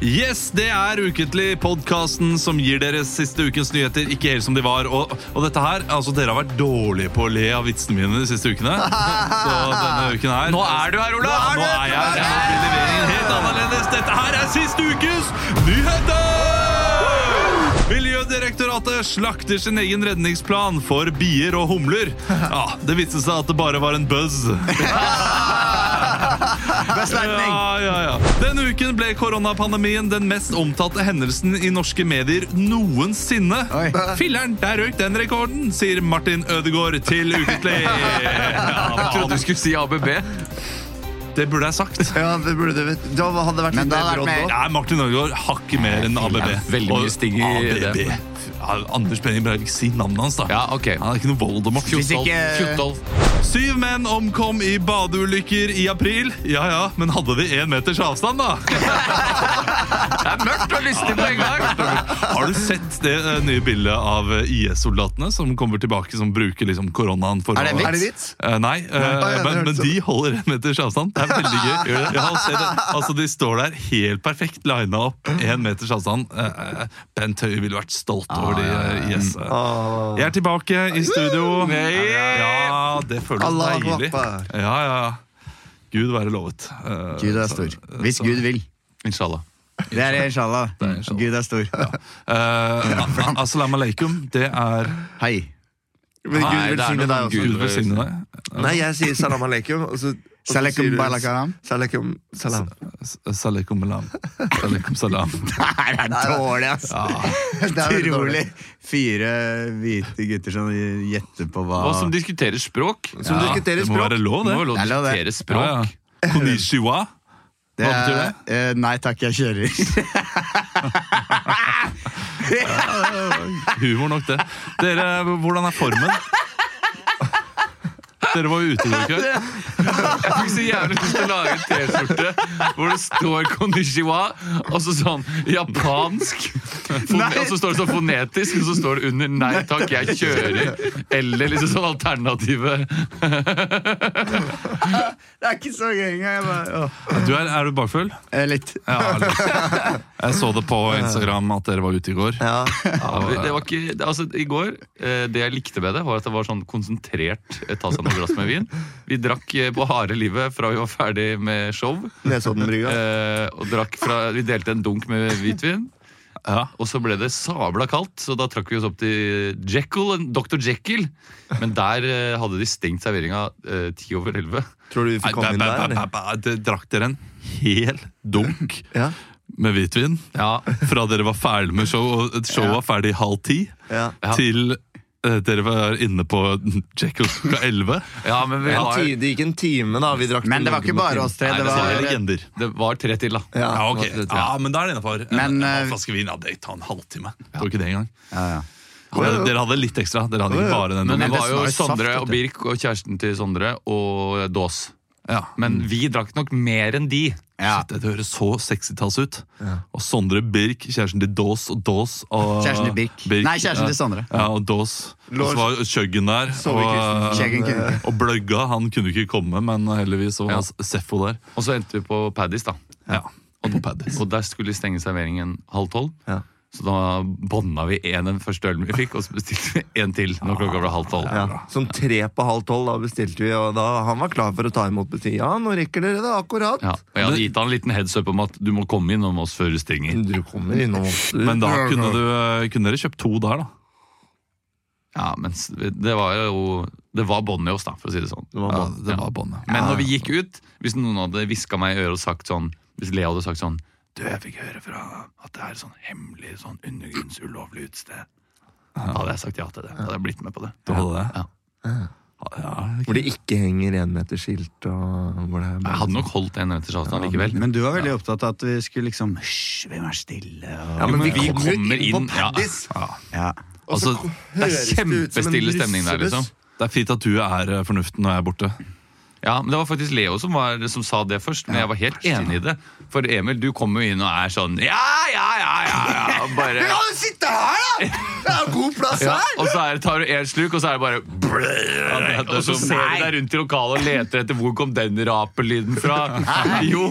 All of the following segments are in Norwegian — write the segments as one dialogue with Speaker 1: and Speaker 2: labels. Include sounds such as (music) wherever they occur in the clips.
Speaker 1: Yes, det er ukentlig podkasten som gir dere siste ukens nyheter ikke helt som de var. Og, og dette her, altså dere har vært dårlige på å le av vitsene mine de siste ukene. Så denne uken her
Speaker 2: Nå er du her, Ola!
Speaker 1: Ja, nå er jeg her. Nå blir leveringen helt annerledes. Dette her er siste ukes nyheter! Miljødirektoratet slakter sin egen redningsplan for bier og humler. Ja, Det viste seg at det bare var en buzz.
Speaker 3: Beslekting!
Speaker 1: Ja, ja, ja. Denne uken ble koronapandemien den mest omtalte hendelsen i norske medier noensinne.
Speaker 3: Oi.
Speaker 1: Filler'n, der røyk den rekorden, sier Martin Ødegaard til Ukentlig. Ja,
Speaker 2: Jeg trodde du
Speaker 1: faen.
Speaker 2: skulle si ABB.
Speaker 1: det burde jeg sagt.
Speaker 3: Ja, det burde vi Da hadde det vært
Speaker 4: Men
Speaker 3: litt mer
Speaker 4: da hadde det vært
Speaker 3: brått
Speaker 4: mer-
Speaker 3: opp.
Speaker 1: Nei, Martin Ødegaard hakket mer enn ABB.
Speaker 2: Veldig
Speaker 1: Og
Speaker 2: mye sting i
Speaker 1: ABB.
Speaker 2: det.
Speaker 1: Ja, Anders Benning Breivik, si navnet hans, da.
Speaker 2: Ja, ok.
Speaker 1: Han er ikke noe Voldemort.
Speaker 4: Hvis ikke-
Speaker 2: Fjortolv.
Speaker 1: Syv menn omkom i badeulykker i april. Ja ja, men hadde de én meters avstand, da?
Speaker 2: Det er mørkt og lystig på en gang!
Speaker 1: Har du sett det eh, nye bildet av eh, IS-soldatene som kommer tilbake som bruker liksom koronaen for
Speaker 4: Er det en
Speaker 1: å-
Speaker 4: vits?
Speaker 3: Er det vits?
Speaker 1: Eh, nei, eh,
Speaker 3: Nei, det
Speaker 1: men,
Speaker 3: hørtes
Speaker 1: men
Speaker 3: sånn
Speaker 1: de holder en meters avstand. Det er veldig
Speaker 3: (laughs)
Speaker 1: gøy. Ja, se det. Altså, De står der helt perfekt lina opp, én meters avstand. Eh, eh, Bent Høie ville vært stolt over de eh, IS.
Speaker 3: Ah.
Speaker 1: Jeg er tilbake i studio.
Speaker 2: Hey!
Speaker 1: Ja, det føles
Speaker 3: Allah
Speaker 1: deilig.
Speaker 3: akbar.
Speaker 1: Ja, ja. Gud være lovet. Eh,
Speaker 4: Gud er
Speaker 1: så-
Speaker 4: stor. Hvis
Speaker 1: så-
Speaker 4: Gud vil.
Speaker 2: Inshallah.
Speaker 4: Det er inshallah.
Speaker 1: er inshallah.
Speaker 4: Gud er stor.
Speaker 1: Eh, a- a- Assalamu alaikum. Det er
Speaker 4: Hei.
Speaker 3: Men Gud
Speaker 2: Nei, det Altså, er
Speaker 3: velsigne
Speaker 2: noe
Speaker 3: deg også.
Speaker 2: Gud.
Speaker 1: Gud velsigne deg.
Speaker 3: Nei, jeg sier salam aleikum. og så- og
Speaker 4: (laughs)
Speaker 3: så
Speaker 4: Salakum
Speaker 3: sier du-
Speaker 4: balakaram.
Speaker 3: Salakum salam.
Speaker 1: S- Salikum alam. Salikum
Speaker 2: (laughs)
Speaker 1: salam.
Speaker 4: Her er dårlig, ass. (laughs)
Speaker 1: Ja.
Speaker 4: Det er Utrolig. Fire hvite gutter som gjetter på hva
Speaker 2: Og som diskuterer språk.
Speaker 3: Som
Speaker 1: Ja,
Speaker 3: diskuterer
Speaker 1: det må
Speaker 3: språk.
Speaker 1: være lov,
Speaker 2: Det
Speaker 1: det.
Speaker 2: må være lov å
Speaker 4: Det er lov, det.
Speaker 2: diskutere
Speaker 1: Ja, ja.
Speaker 2: språk.
Speaker 1: Konnichiwa.
Speaker 4: Det
Speaker 1: Hva
Speaker 4: er-
Speaker 1: betyr
Speaker 4: Eh, nei takk, jeg kjører. (laughs)
Speaker 1: Humor nok, det. Dere, hvordan er formen? Dere var jo ute i går kveld.
Speaker 2: Jeg fikk så jævlig lyst til å lage en T-skjorte hvor det står konnichiwa, og så sånn japansk. Fon og så står det sånn fonetisk, og så står det under 'nei takk, jeg kjører'. Eller liksom sånn alternative
Speaker 4: Det er ikke så gøy engang. jeg bare- åh.
Speaker 1: Du er, er du bakfull?
Speaker 4: Eh, Litt.
Speaker 1: Ja, eller- jeg så det på Instagram at dere var ute i går.
Speaker 3: (laughs) Ja.
Speaker 2: Ja,
Speaker 1: Ah,
Speaker 2: men det var ikke, det- altså, I går, eh, det jeg likte med det, var at det var sånn konsentrert eh, ta seg noen glass med vin. Vi drakk eh, på harde livet fra vi var ferdig med show.
Speaker 3: Nesoddenbrygga.
Speaker 2: eh, Og drakk fra, vi delte en dunk med hvitvin.
Speaker 1: Ja.
Speaker 2: Og så ble det sabla kaldt, så da trakk vi oss opp til Jekyll, en Dr. Jekyll. Men der eh, hadde de stengt serveringa eh, ti over elleve.
Speaker 3: Tror du vi
Speaker 1: Nei,
Speaker 3: får komme inn der?
Speaker 1: bæ, bæ,
Speaker 3: eller?
Speaker 1: bæ, bæ, det Drakk dere en hel dunk
Speaker 3: Ja.
Speaker 1: med hvitvin
Speaker 2: Ja.
Speaker 1: fra dere var ferdig med show, og showet var ferdig halv ti,
Speaker 3: Ja.
Speaker 2: Ja.
Speaker 1: til eh, dere var inne på Jekyll (laughs) klokka elleve?
Speaker 2: ja, men vi
Speaker 3: En
Speaker 2: var,
Speaker 3: ti- Det gikk en time, da. Vi drakk
Speaker 4: Men det var ikke bare oss tre.
Speaker 2: Nei,
Speaker 4: Det
Speaker 2: det
Speaker 1: Det
Speaker 2: var-
Speaker 4: var
Speaker 1: er legender.
Speaker 2: det var tre til, da.
Speaker 3: Ja,
Speaker 1: Ja, ok.
Speaker 3: absolutt, ja.
Speaker 1: ja, men da er det innafor. En en
Speaker 4: Men,
Speaker 1: halv
Speaker 4: eh,
Speaker 1: flaske vin hadde jeg ta en halvtime. Det var ikke det engang.
Speaker 4: ja, ja.
Speaker 1: Hadde,
Speaker 3: Jo, jo.
Speaker 1: dere hadde litt ekstra. Dere hadde
Speaker 3: Jo,
Speaker 1: ikke bare
Speaker 3: jo.
Speaker 1: den.
Speaker 2: Men det
Speaker 4: Men det
Speaker 2: var jo
Speaker 4: var jo saft,
Speaker 2: Sondre
Speaker 4: vet
Speaker 2: og
Speaker 4: du.
Speaker 2: Birk og kjæresten til Sondre og Dås.
Speaker 1: ja.
Speaker 2: Men vi drakk nok mer enn de.
Speaker 4: Ja.
Speaker 1: Shit, det høres så 60-talls ut. Og Sondre Birk, kjæresten til Dås og Dås og
Speaker 4: Kjæresten til Birk. Nei, kjæresten til Sondre.
Speaker 1: Ja, og Dås. Og så var Kjøggen der.
Speaker 3: Så vi
Speaker 1: Og,
Speaker 3: Kristensen.
Speaker 4: Kjeggen kunne ikke.
Speaker 1: og Bløgga, han kunne ikke komme, men heldigvis så
Speaker 2: Ja.
Speaker 1: var Seffo der.
Speaker 2: Og så endte vi på Paddis, da.
Speaker 1: Ja. Og på Paddis.
Speaker 2: Og der skulle de stenge serveringen halv tolv.
Speaker 3: Ja.
Speaker 2: Så da bånda vi én den første ølen vi fikk, og så bestilte vi én til når klokka ble halv tolv.
Speaker 3: Ja. Som tre på halv tolv da bestilte vi, og da han var klar for å ta imot beskjed. Ja, nå rekker dere det akkurat.
Speaker 2: Ja, og jeg hadde gitt han en liten heads up om at du må komme innom oss før det stenger.
Speaker 3: Du kommer innom oss. du.
Speaker 1: Men da kunne, du, eh, kunne dere kjøpt to der, da.
Speaker 2: Ja, men s- det var jo Det var bånd i oss, da, for å si det sånn.
Speaker 3: Det var
Speaker 1: Ja,
Speaker 3: bare-
Speaker 1: det var båndet.
Speaker 2: Men når vi gikk ut, hvis noen hadde hviska meg i øret og sagt sånn Hvis Lea hadde sagt sånn Du, jeg fikk høre fra at det er sånn hemmelig sånn undergrunns ulovlig utested. Da hadde jeg sagt ja til det. Da hadde jeg blitt med på det.
Speaker 1: Du hadde det?
Speaker 2: Ja.
Speaker 1: Ja,
Speaker 3: Hvor det ikke henger enmeterskilt og hvor det er
Speaker 2: Jeg hadde nok holdt en meters avstand likevel.
Speaker 4: Men du var veldig opptatt av at vi skulle liksom Hysj, hvem er stille?
Speaker 3: Ja,
Speaker 4: Og,
Speaker 3: men vi
Speaker 2: Jo, men vi
Speaker 3: kommer
Speaker 2: kommer
Speaker 3: jo inn
Speaker 2: inn,
Speaker 3: på
Speaker 2: ja.
Speaker 3: Paddis!
Speaker 4: ja.
Speaker 3: Og så
Speaker 2: Altså,
Speaker 3: ko-
Speaker 2: det er
Speaker 3: høres ut som en
Speaker 2: kjempestille stemning der,
Speaker 3: russebuss.
Speaker 2: liksom.
Speaker 1: Det er fint at du er eh, fornuften når jeg er borte.
Speaker 2: Ja, men Det var faktisk Leo som, var, som sa det først, men jeg var helt enig i det. For Emil, du kommer jo inn og er sånn Ja, ja, ja! ja,
Speaker 3: (laughs)
Speaker 2: ja og bare,
Speaker 3: Ja, du sitter her, da! Det er god plass
Speaker 2: ja,
Speaker 3: her!
Speaker 2: Og så er, det- tar du én sluk, og så er det bare brrr, Og så ser du deg rundt i lokalet og leter etter hvor kom den rapelyden fra. Jo,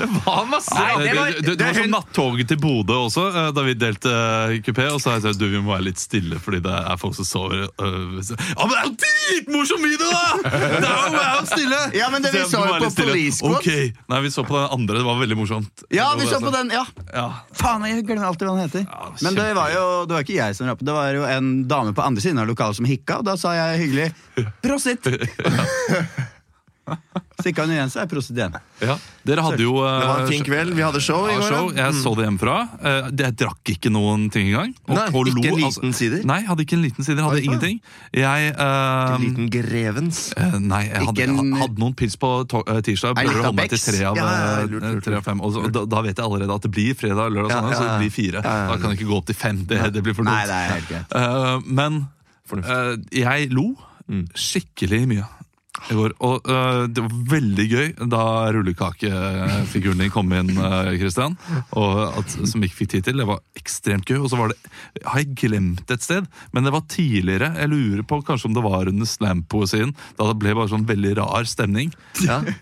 Speaker 2: det var masse
Speaker 1: Nei,
Speaker 2: rap.
Speaker 1: det,
Speaker 4: var-
Speaker 1: det, det, var som nattoget til Bodø også, eh, da vi delte eh, kupé. Og så sa jeg sånn, du, vi må være litt stille, fordi det er folk som sover. eh, så- Ja, men det er jo dritmorsom video, da! Det er jo, det er jo stille!
Speaker 4: Ja, (laughs) men det-
Speaker 1: Så
Speaker 4: vi
Speaker 1: jeg,
Speaker 4: så
Speaker 1: må
Speaker 4: jo
Speaker 1: være
Speaker 4: på
Speaker 1: litt stille.
Speaker 4: Police Squad.
Speaker 1: Ok, Nei, vi så på den andre. Det var veldig morsomt.
Speaker 4: Ja,
Speaker 1: Det
Speaker 4: vi
Speaker 1: var
Speaker 4: så på
Speaker 1: sånn-
Speaker 4: den, ja.
Speaker 1: Ja.
Speaker 4: Faen, jeg glemmer alltid hva han heter.
Speaker 1: Ja,
Speaker 4: Men det var jo det var ikke jeg som rappet, det var jo en dame på andre siden av lokalet som hikka, og da sa jeg hyggelig
Speaker 2: (laughs)
Speaker 4: 'prosit'. Stikka hun igjen, så er prosit igjen.
Speaker 2: Ja.
Speaker 1: Dere hadde jo eh,
Speaker 3: Det var en fin kveld. Vi hadde show i
Speaker 1: Ja,
Speaker 3: går.
Speaker 1: show.
Speaker 3: da.
Speaker 1: Jeg så det hjemmefra. Eh, Jeg drakk ikke noen ting engang. Og-
Speaker 3: Nei,
Speaker 1: og
Speaker 3: ikke en
Speaker 1: lo, altså-
Speaker 3: liten sider?
Speaker 1: Nei, hadde ikke en liten sider. Hadde ingenting. Jeg eh,
Speaker 3: En liten grevens.
Speaker 1: eh, Nei, jeg hadde,
Speaker 4: Ikke en-
Speaker 1: jeg hadde noen pils på to- eh, tirsdag.
Speaker 4: Ei,
Speaker 1: Prøver å
Speaker 4: lita
Speaker 1: holde meg til
Speaker 4: Becks?
Speaker 1: tre av,
Speaker 3: Ja, ja, ja,
Speaker 1: eh,
Speaker 3: lurt, lurt,
Speaker 1: tre av fem. Og så, og da, da vet jeg allerede at det blir fredag, lørdag og
Speaker 3: Ja,
Speaker 1: sånn.
Speaker 3: ja, ja.
Speaker 1: Så det blir fire.
Speaker 3: Ja, ja, ja.
Speaker 1: Da kan jeg ikke gå opp til fem. Det, det blir for dumt.
Speaker 4: Nei, det er helt greit.
Speaker 1: Eh, men eh, jeg lo skikkelig mye i går. Og eh, det var veldig gøy da rullekakefiguren din kom inn, eh, Christian. Og at, som vi ikke fikk tid til. Det var ekstremt gøy. Og så var det Har jeg glemt et sted? Men det var tidligere. Jeg lurer på kanskje om det var under slampoesien. Da det ble bare sånn veldig rar stemning.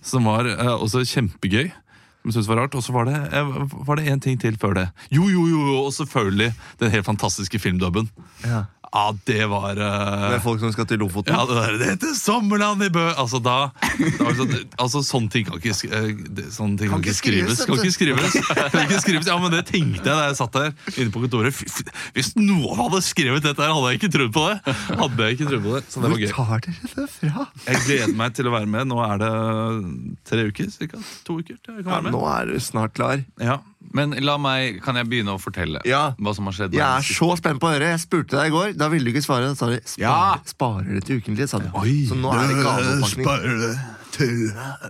Speaker 1: Som var eh, også kjempegøy. Som jeg syntes var rart, Og så var det eh, var det én ting til før det. Jo, jo, jo, jo, og selvfølgelig den helt fantastiske filmdubben.
Speaker 3: Ja.
Speaker 1: Ja, det var eh,
Speaker 3: Med folk som skal til Lofoten.
Speaker 1: ja, det, der, det heter Sommerland i Bø! Altså, da, da var det sånn, altså Sånne ting kan ikke, sk- eh, det- sånne ting kan ikke skrives. Kan ikke skrives. (laughs) Kan ikke skrives. Ja, men det tenkte jeg da jeg satt der inne på kontoret. Fy- fy- Hvis noen hadde skrevet dette her, hadde jeg ikke trodd på det! Hadde jeg ikke trodd på det, Så det
Speaker 3: Hvor
Speaker 1: var gøy.
Speaker 3: tar dere det fra?
Speaker 1: Jeg gleder meg til å være med. Nå er det eh, tre uker, cirka. To uker til jeg kan
Speaker 3: Ja,
Speaker 1: være
Speaker 3: nå
Speaker 1: med.
Speaker 3: er du snart klar.
Speaker 1: Ja.
Speaker 2: Men la meg, kan jeg begynne å fortelle
Speaker 3: Ja.
Speaker 2: hva som har skjedd?
Speaker 3: Jeg
Speaker 2: meg
Speaker 3: er så spent på å høre. Jeg spurte deg i går, da ville du ikke svare. Da sa du spar,
Speaker 4: Ja.
Speaker 3: sparer det til ukentlig. Sa du. Så nå er det gaveoppakning.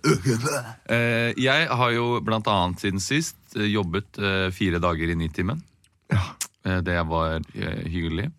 Speaker 2: Eh, jeg har jo blant annet siden sist eh, jobbet eh, fire dager i Nitimen. Eh, det var eh, hyggelig.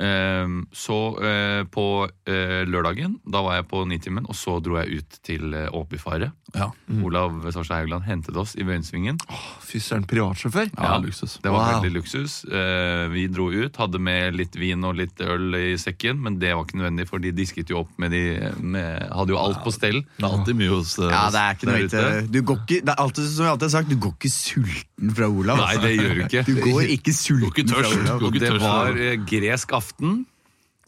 Speaker 2: Eh, så eh, på eh, lørdagen, da var jeg på Nitimen, og så dro jeg ut til eh, Åbyfaret.
Speaker 1: Ja.
Speaker 3: Mm.
Speaker 2: Olav Svarstad Haugland hentet oss i Vøyensvingen.
Speaker 3: Fy søren, privatsjåfør?
Speaker 1: Ja, luksus.
Speaker 2: Det var
Speaker 3: Wow.
Speaker 2: veldig luksus. Eh, vi dro ut, hadde med litt vin og litt øl i sekken, men det var ikke nødvendig, for de disket jo opp med de med, Hadde jo alt på stell.
Speaker 1: Det er alltid mye hos eh,
Speaker 4: Ja, det er ikke noe
Speaker 2: Der
Speaker 4: vits i det. Du går ikke, det er alltid som jeg alltid har sagt, du går ikke sulten fra Olav. altså.
Speaker 2: Nei, det gjør du ikke.
Speaker 4: Du går ikke sulten
Speaker 1: ikke tørst.
Speaker 4: fra Olav.
Speaker 1: Går
Speaker 2: Og
Speaker 1: ikke
Speaker 2: det
Speaker 1: tørst,
Speaker 2: var
Speaker 1: da.
Speaker 2: eh, gresk aften.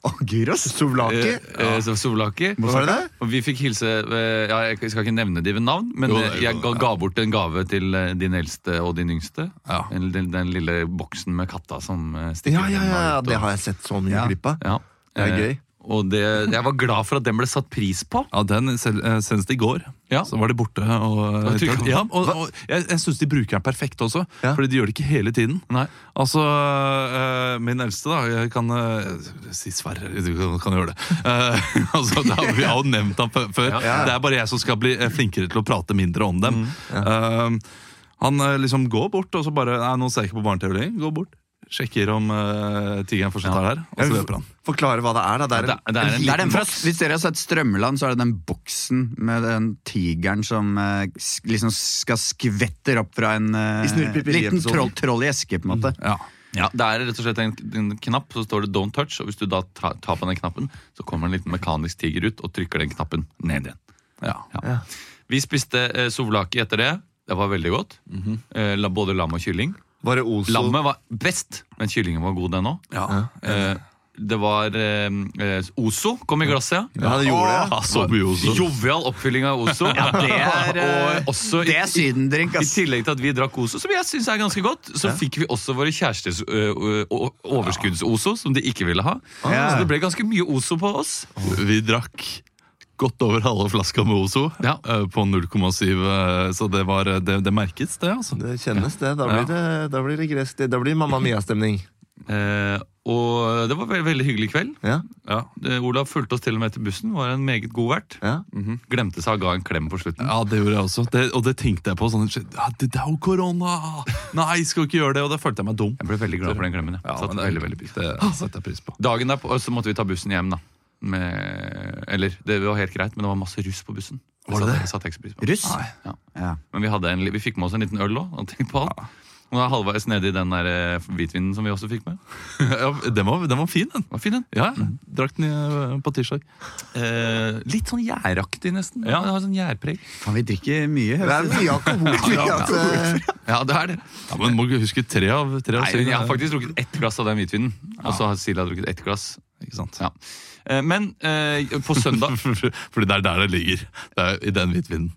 Speaker 4: Å, gyros.
Speaker 3: Sovlaki?
Speaker 2: Eh, eh, som Souvlaki.
Speaker 3: Var det det?
Speaker 2: Og vi fikk hilse eh, ja, Jeg skal ikke nevne de ved navn, men
Speaker 1: Jo,
Speaker 2: eh,
Speaker 1: det-
Speaker 2: jeg ga, ga bort en gave til eh, din eldste og din yngste.
Speaker 1: Ja.
Speaker 2: Den, den, den lille boksen med katta som eh, stikker
Speaker 3: Ja, ja, ja, ja,
Speaker 2: ut, og-
Speaker 3: det har jeg sett så mye
Speaker 4: Ja.
Speaker 3: glipp av.
Speaker 2: ja.
Speaker 3: Det er
Speaker 2: Eh,
Speaker 3: gøy.
Speaker 2: Og det, jeg var glad for at den ble satt pris på.
Speaker 1: Ja, den sel- eh, senest i går.
Speaker 2: Ja.
Speaker 1: Så var de borte. Og, eh,
Speaker 2: Da trykker man.
Speaker 1: ja, og, og jeg jeg syns de bruker den perfekt også,
Speaker 3: Ja.
Speaker 1: Fordi de gjør det ikke hele tiden.
Speaker 2: Nei.
Speaker 1: Altså, eh, min eldste, da, jeg kan eh, si Sverre, du kan, kan gjøre det. Eh, (laughs) altså, det har vi har jo nevnt ham før. før.
Speaker 3: ja.
Speaker 1: Det er bare jeg som skal bli eh, flinkere til å prate mindre om dem. Eh, han eh, liksom går bort, og så bare Nei, nå ser jeg ikke på barne-TV lenger. Går bort, sjekker om eh, tigeren fortsatt Altså, er der, og så løper han.
Speaker 3: Forklare hva det er, da. Det er
Speaker 2: Ja, det- det er
Speaker 3: en,
Speaker 2: en
Speaker 4: Det er
Speaker 3: liten
Speaker 4: den fra,
Speaker 3: boks.
Speaker 4: hvis dere har sett Strømmeland, så er det den boksen med den tigeren som eh, s- liksom skal skvetter opp fra en eh,
Speaker 3: I Snurrepiperi-episoden.
Speaker 4: liten troll, troll i eske, på en måte.
Speaker 1: Ja.
Speaker 2: Mm, Ja, Det er rett og slett en, en knapp, så står det 'don't touch'. Og hvis du da tra- tar på den knappen, så kommer en liten mekanisk tiger ut og trykker den knappen ned igjen.
Speaker 1: Ja.
Speaker 3: Ja.
Speaker 2: Vi spiste eh, souvlaki etter det. Det var veldig godt. eh, la- både lam og kylling.
Speaker 3: Var det Ozo?
Speaker 2: Lammet var best, men kyllingen var god, den òg.
Speaker 1: Ja.
Speaker 2: Eh, det var eh, eh, Ozo kom i glasset, ja.
Speaker 3: Ja, det gjorde det.
Speaker 1: Ja, så mye også.
Speaker 2: Jovial oppfylling av Ozo.
Speaker 4: det er, eh,
Speaker 2: og også
Speaker 4: Det er sydendrink,
Speaker 2: i
Speaker 4: ass!
Speaker 2: tillegg til at vi drakk Ozo, som jeg syns er ganske godt, så fikk vi også våre kjærestes ø, ø, o- overskudds-Ozo, som de ikke ville ha.
Speaker 4: Ja.
Speaker 2: Så det ble ganske mye Ozo på oss.
Speaker 1: Vi drakk godt over halve flaska med Ozo
Speaker 2: Ja.
Speaker 1: eh, på 0,7, eh, så det, var, det, det merkes, det. altså.
Speaker 3: Det kjennes, det. Da blir det, da blir det gresk. det- Da blir Mamma Mia-stemning.
Speaker 2: Eh, og det var ve veldig hyggelig kveld.
Speaker 3: Ja,
Speaker 2: Ja. Eh, Olav fulgte oss til og med til bussen, var en meget god vert.
Speaker 3: ja.
Speaker 2: Mhm. Glemte seg og ga en klem på slutten.
Speaker 1: Ja, det gjorde jeg også. Det, og det tenkte jeg på. Sånn, shit, ja, det, det er jo korona! Nei, skal ikke gjøre det! Og da følte jeg meg dum.
Speaker 2: Jeg ble veldig glad for den klemmen. jeg.
Speaker 1: Ja,
Speaker 2: Satte
Speaker 1: men
Speaker 2: veldig, veldig pris.
Speaker 1: det setter jeg pris på.
Speaker 2: Dagen derpå så måtte vi ta bussen hjem, da. Med, eller det var helt greit, men det var masse russ på bussen.
Speaker 1: Var det det?
Speaker 2: Satte- satte jeg ikke så pris på.
Speaker 4: Russ?
Speaker 2: Ja.
Speaker 4: Ja.
Speaker 2: Men vi, hadde en, li- vi fikk med oss en liten øl òg. Og tenk på alt. Og da er jeg halvveis nedi den der eh, hvitvinen som vi også fikk med.
Speaker 1: (laughs) Ja, den, var, den var fin, den.
Speaker 2: Var fin den. Mm.
Speaker 1: Ja, Drakk den i- på tirsdag.
Speaker 2: Eh, litt sånn gjæraktig, nesten. Ja, det har sånn gjærpreg.
Speaker 4: Faen, vi drikker mye.
Speaker 3: Det
Speaker 4: høres
Speaker 3: er
Speaker 4: det ut
Speaker 3: mye
Speaker 4: (laughs)
Speaker 3: alkohol i at eh,
Speaker 2: Ja, det er det.
Speaker 1: Ja, men Må ikke huske tre av tre av
Speaker 2: Nei,
Speaker 1: syv. eh,
Speaker 2: jeg har faktisk drukket ett glass av den hvitvinen. Og så har Silja drukket ett glass.
Speaker 1: Ikke sant?
Speaker 2: Ja. Eh, Men eh, på (laughs) søndag
Speaker 1: (laughs) Fordi det er der det ligger. Det er I den hvitvinen.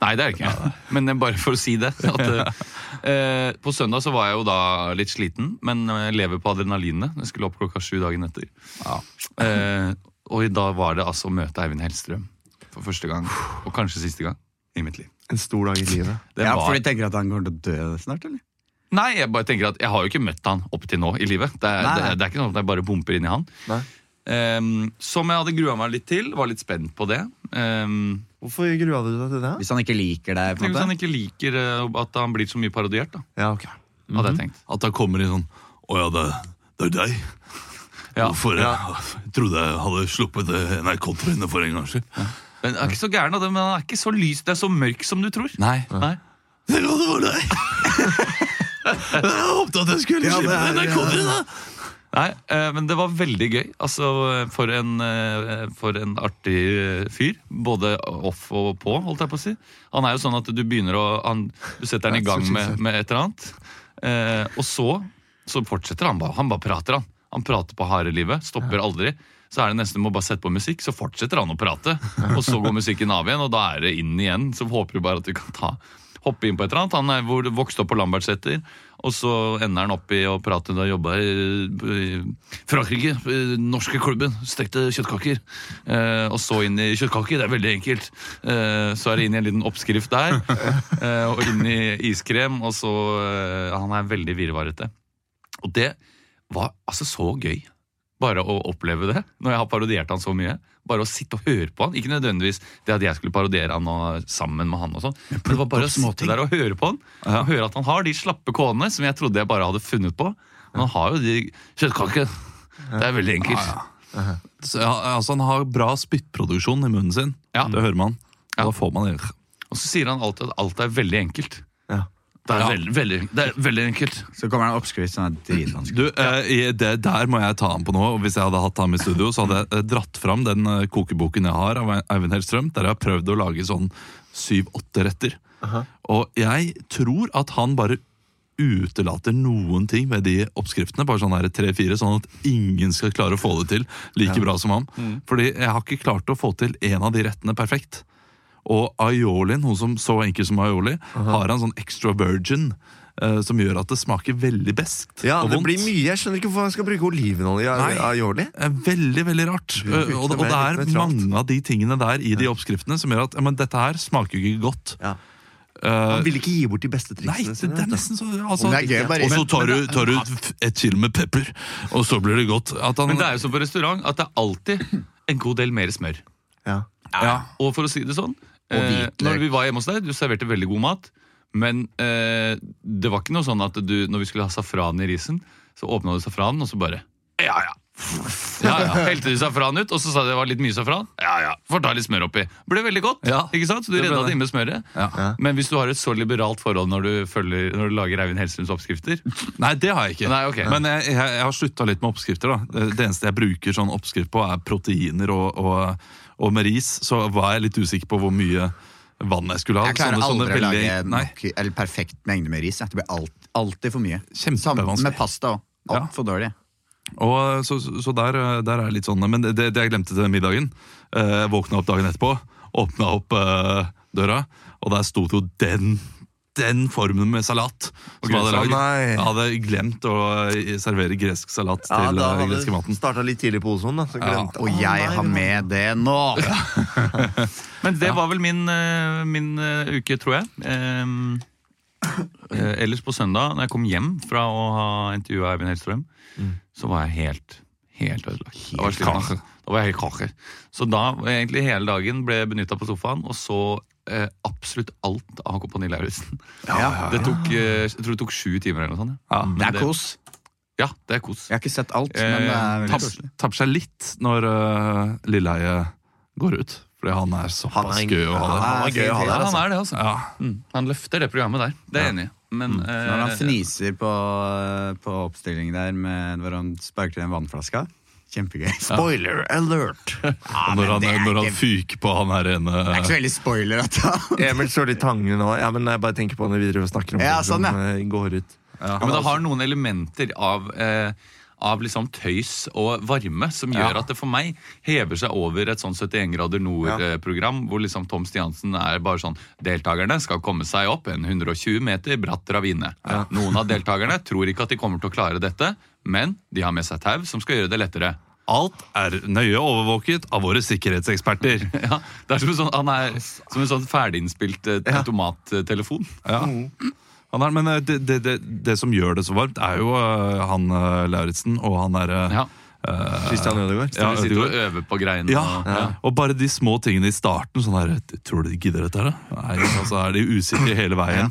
Speaker 2: Nei, det er det ikke. Men eh, bare for å si det. At, eh, eh, på søndag så var jeg jo da litt sliten, men eh, lever på adrenalinet. Jeg skulle opp klokka sju dagen etter. Eh, og i dag var det altså å møte Eivind Hellstrøm for første gang, og kanskje siste gang, i mitt liv.
Speaker 3: En stor dag i livet.
Speaker 2: Det
Speaker 4: ja,
Speaker 2: var-
Speaker 4: for de tenker at han kommer til å dø snart, eller?
Speaker 2: Nei, jeg bare tenker at jeg har jo ikke møtt han opp til nå i livet. Det er,
Speaker 4: Nei,
Speaker 2: det,
Speaker 4: nei.
Speaker 2: det er ikke sånn at jeg bare pumper inn i han.
Speaker 3: Nei.
Speaker 2: Ehm, som jeg hadde grua meg litt til. Var litt spent på det. Ehm,
Speaker 3: Hvorfor grua du deg til det?
Speaker 4: Hvis han ikke liker deg, på
Speaker 2: tenk
Speaker 4: en
Speaker 2: hvis han
Speaker 4: måte.
Speaker 2: ikke liker eh, at han blir så mye parodiert, da.
Speaker 3: Ja, ok.
Speaker 2: Hadde jeg tenkt.
Speaker 1: At han kommer i sånn Å ja, det, det er deg.
Speaker 2: Ja.
Speaker 1: Hvorfor? Jeg trodde jeg hadde sluppet det NRK-trynet for en gangs skyld.
Speaker 2: Men han er ikke så gæren av det, men han er ikke så lys. Det er så mørk som du tror.
Speaker 4: Nei.
Speaker 2: Nei.
Speaker 1: Tenk om det var (laughs) deg! Jeg håpet at jeg skulle
Speaker 3: Ja, det
Speaker 1: slippe
Speaker 3: er-
Speaker 1: NRK-trynet!
Speaker 2: Nei, eh, men det var veldig gøy. Altså, eh, for en, eh, for en artig eh, fyr. Både off og på, holdt jeg på å si. Han er jo sånn at du begynner å han, Du setter han i
Speaker 3: That's
Speaker 2: gang
Speaker 3: what she
Speaker 2: med,
Speaker 3: said.
Speaker 2: med et eller annet. Eh, og så, så fortsetter han bare. Han bare prater, han. Han prater på harde livet. Stopper aldri. Så er det nesten må bare sette på musikk, så fortsetter han å prate. Og så går musikken av igjen, og da er det inn igjen. Så håper vi bare at vi kan ta hoppe inn på et eller annet. Han er hvor, vokst opp på Lambertseter, og så ender han opp i å prate da jobba i, i Frankrike. eh, Norske klubben. Stekte kjøttkaker. Eh, og så inn i kjøttkaker. Det er veldig enkelt. Eh, så er det inn i en liten oppskrift der, eh, og inn i iskrem, og så eh, Han er veldig virvarete. Og det var altså så gøy. Bare å oppleve det, når jeg har parodiert han så mye. Bare å sitte og høre på han. Ikke nødvendigvis det at jeg skulle parodiere han og, sammen med han. og sånn Men det var bare å sitte der og høre på han. Og høre at han har de slappe kåene som jeg trodde jeg bare hadde funnet på. Men han har jo de kjøttkaker. Det er veldig enkelt.
Speaker 1: Så, ja, altså, han har bra spyttproduksjon i munnen sin.
Speaker 2: Ja.
Speaker 1: Det hører man.
Speaker 2: Ja.
Speaker 1: Da får man det.
Speaker 2: Og så sier han alltid at alt er veldig enkelt.
Speaker 3: Ja.
Speaker 2: Det er,
Speaker 1: Ja.
Speaker 2: veldig, veldig, det er veldig enkelt.
Speaker 4: Så kommer det en oppskrift som er dritvanskelig.
Speaker 1: Du, eh, i- det, Der må jeg ta han på noe. og Hvis jeg hadde hatt ham i studio, så hadde jeg eh, dratt fram den eh, kokeboken jeg har av Eivind Hellstrøm, der jeg har prøvd å lage sånn syv-åtte retter. Og jeg tror at han bare utelater noen ting med de oppskriftene, bare sånn her tre-fire, sånn at ingen skal klare å få det til like bra som ham. Fordi jeg har ikke klart å få til en av de rettene perfekt. Og aiolien, hun som så enkel som aioli, har han sånn extra virgin. eh, Som gjør at det smaker veldig beskt
Speaker 3: Ja,
Speaker 1: og
Speaker 3: det
Speaker 1: vondt.
Speaker 3: blir mye. Jeg skjønner ikke hvorfor han skal bruke olivenolje
Speaker 1: Nei.
Speaker 3: aioli.
Speaker 1: Eh, Veldig, veldig rart.
Speaker 3: Det virker
Speaker 1: Eh, Og, og
Speaker 3: mer
Speaker 1: det er
Speaker 3: nøytralt.
Speaker 1: mange av de tingene der i de oppskriftene som gjør at ja, men dette her smaker jo ikke godt.
Speaker 3: Ja.
Speaker 1: Eh,
Speaker 3: Han vil ikke gi bort de beste
Speaker 1: nei,
Speaker 3: triksene
Speaker 1: det, det er nesten så altså,
Speaker 4: Men det er gøy, bare-
Speaker 1: Og så tar du, tar du f- et kilo med pepper, og så blir det godt. At han,
Speaker 2: Men det er jo som på restaurant at det er alltid en god del mer smør.
Speaker 3: Ja.
Speaker 1: ja,
Speaker 2: Og for å si det sånn, eh,
Speaker 4: hvitløk.
Speaker 2: når vi var hjemme hos deg, du serverte veldig god mat, men eh, det var ikke noe sånn at du, når vi skulle ha safran i risen, så åpna du safranen, og så bare Ja, ja. Ja, ja. Helte du safran ut, og så sa du det var litt mye safran? Ja, ja. Får ta litt smør oppi. Ble veldig godt,
Speaker 1: Ja,
Speaker 2: ikke sant? Så du
Speaker 1: det ble
Speaker 2: redda
Speaker 1: det.
Speaker 2: det inn med smøret.
Speaker 1: ja.
Speaker 2: Men hvis du har et så liberalt forhold når du, følger, når du lager Eivind Hellstrøms oppskrifter
Speaker 1: Nei, det har jeg ikke.
Speaker 2: Nei, ok.
Speaker 1: Men jeg, jeg, jeg har slutta litt med oppskrifter. da Det- Det eneste jeg bruker sånn oppskrift på, er proteiner og, og, og med ris. Så var jeg litt usikker på hvor mye vann jeg skulle ha.
Speaker 4: Jeg klarer
Speaker 1: Sånne- sånne
Speaker 4: aldri å
Speaker 1: veldig-
Speaker 4: lage
Speaker 1: Nei.
Speaker 4: nok, eller perfekt mengde med ris. jeg. Det blir alt, alltid for mye.
Speaker 1: Kjempevanskelig.
Speaker 4: Sammen med pasta òg.
Speaker 1: Ja.
Speaker 4: Altfor dårlig.
Speaker 1: Og eh, så, så der, der er litt sånn Men det, det jeg glemte til den middagen eh, Våkna opp dagen etterpå Åpna opp eh, døra Og der sto det jo den den formen med salat som jeg hadde
Speaker 3: grønnsaker.
Speaker 1: laget.
Speaker 3: Nei.
Speaker 1: Jeg hadde glemt å eh, servere gresk salat
Speaker 3: Ja,
Speaker 1: til
Speaker 3: da
Speaker 1: eh,
Speaker 3: hadde
Speaker 1: greske maten.
Speaker 3: starta litt tidlig på Ozon, da. Så glemte
Speaker 4: Og jeg har med det nå!
Speaker 2: Men det var vel min, eh, min eh, uke, tror jeg. Ehm, eh, ellers på søndag, når jeg kom hjem fra å ha intervjua Eivind Hellstrøm, så var jeg helt helt ødelagt. Da var jeg sliten, altså. Da var jeg helt kaker. Så da eh, egentlig hele dagen ble benytta på sofaen, og så eh, absolutt alt av Kompani Lauritzen.
Speaker 4: Ja.
Speaker 2: Det tok, eh, jeg tror det tok sju timer eller noe sånt.
Speaker 1: Ja,
Speaker 4: Det
Speaker 2: Men
Speaker 4: er kos.
Speaker 2: Ja, det er kos.
Speaker 4: Jeg har ikke sett alt, men det er
Speaker 2: Eh,
Speaker 4: veldig
Speaker 1: tapp,
Speaker 4: koselig.
Speaker 1: tapper seg litt når eh, Lilleheie øh, går ut. Fordi han er
Speaker 3: Han
Speaker 1: såpass
Speaker 3: er,
Speaker 1: gøy å ha der.
Speaker 3: han er gøy å ha
Speaker 2: Ja,
Speaker 3: der,
Speaker 2: han
Speaker 3: altså.
Speaker 2: er det, altså.
Speaker 1: Ja.
Speaker 2: Mm. Han løfter det programmet der. Det er jeg enig i. Men
Speaker 4: Når han
Speaker 2: eh,
Speaker 4: fniser på, eh, på oppstillingen der med, hvor han sparker den vannflaska. Kjempegøy.
Speaker 3: Spoiler alert!
Speaker 1: Og når han, når han fyker på han her ene
Speaker 4: Det er ikke så veldig spoiler at han
Speaker 3: Emil står litt tangende nå. Ja, men jeg bare tenker på når vi driver og snakker om
Speaker 4: Ja,
Speaker 3: det
Speaker 4: sånn, ja.
Speaker 3: som eh, går ut.
Speaker 2: Ja, men det har noen elementer av, eh, av liksom tøys og varme som gjør at det for meg hever seg over et sånn 71 grader nord-program, hvor liksom Tom Stiansen er bare sånn Deltakerne skal komme seg opp en 120 meter bratt ravine. Noen av deltakerne tror ikke at de kommer til å klare dette, men de har med seg tau som skal gjøre det lettere. (laughs)
Speaker 1: Alt er nøye overvåket av våre sikkerhetseksperter.
Speaker 2: Ja, det er som en sånn, Han er som en sånn ferdiginnspilt eh, automattelefon.
Speaker 1: Ja. Han er, men eh, det, det, det, det som gjør det så varmt, er jo eh, han eh, Lauritzen og han derre
Speaker 2: Ja.
Speaker 3: Christian Ødegaard.
Speaker 1: Ja,
Speaker 2: Vi sitter og øver på greiene.
Speaker 1: Ja,
Speaker 2: og- ja.
Speaker 1: og bare de små tingene i starten. Sånn her, Tror du de gidder dette her, da? Nei, altså er de usikre hele veien.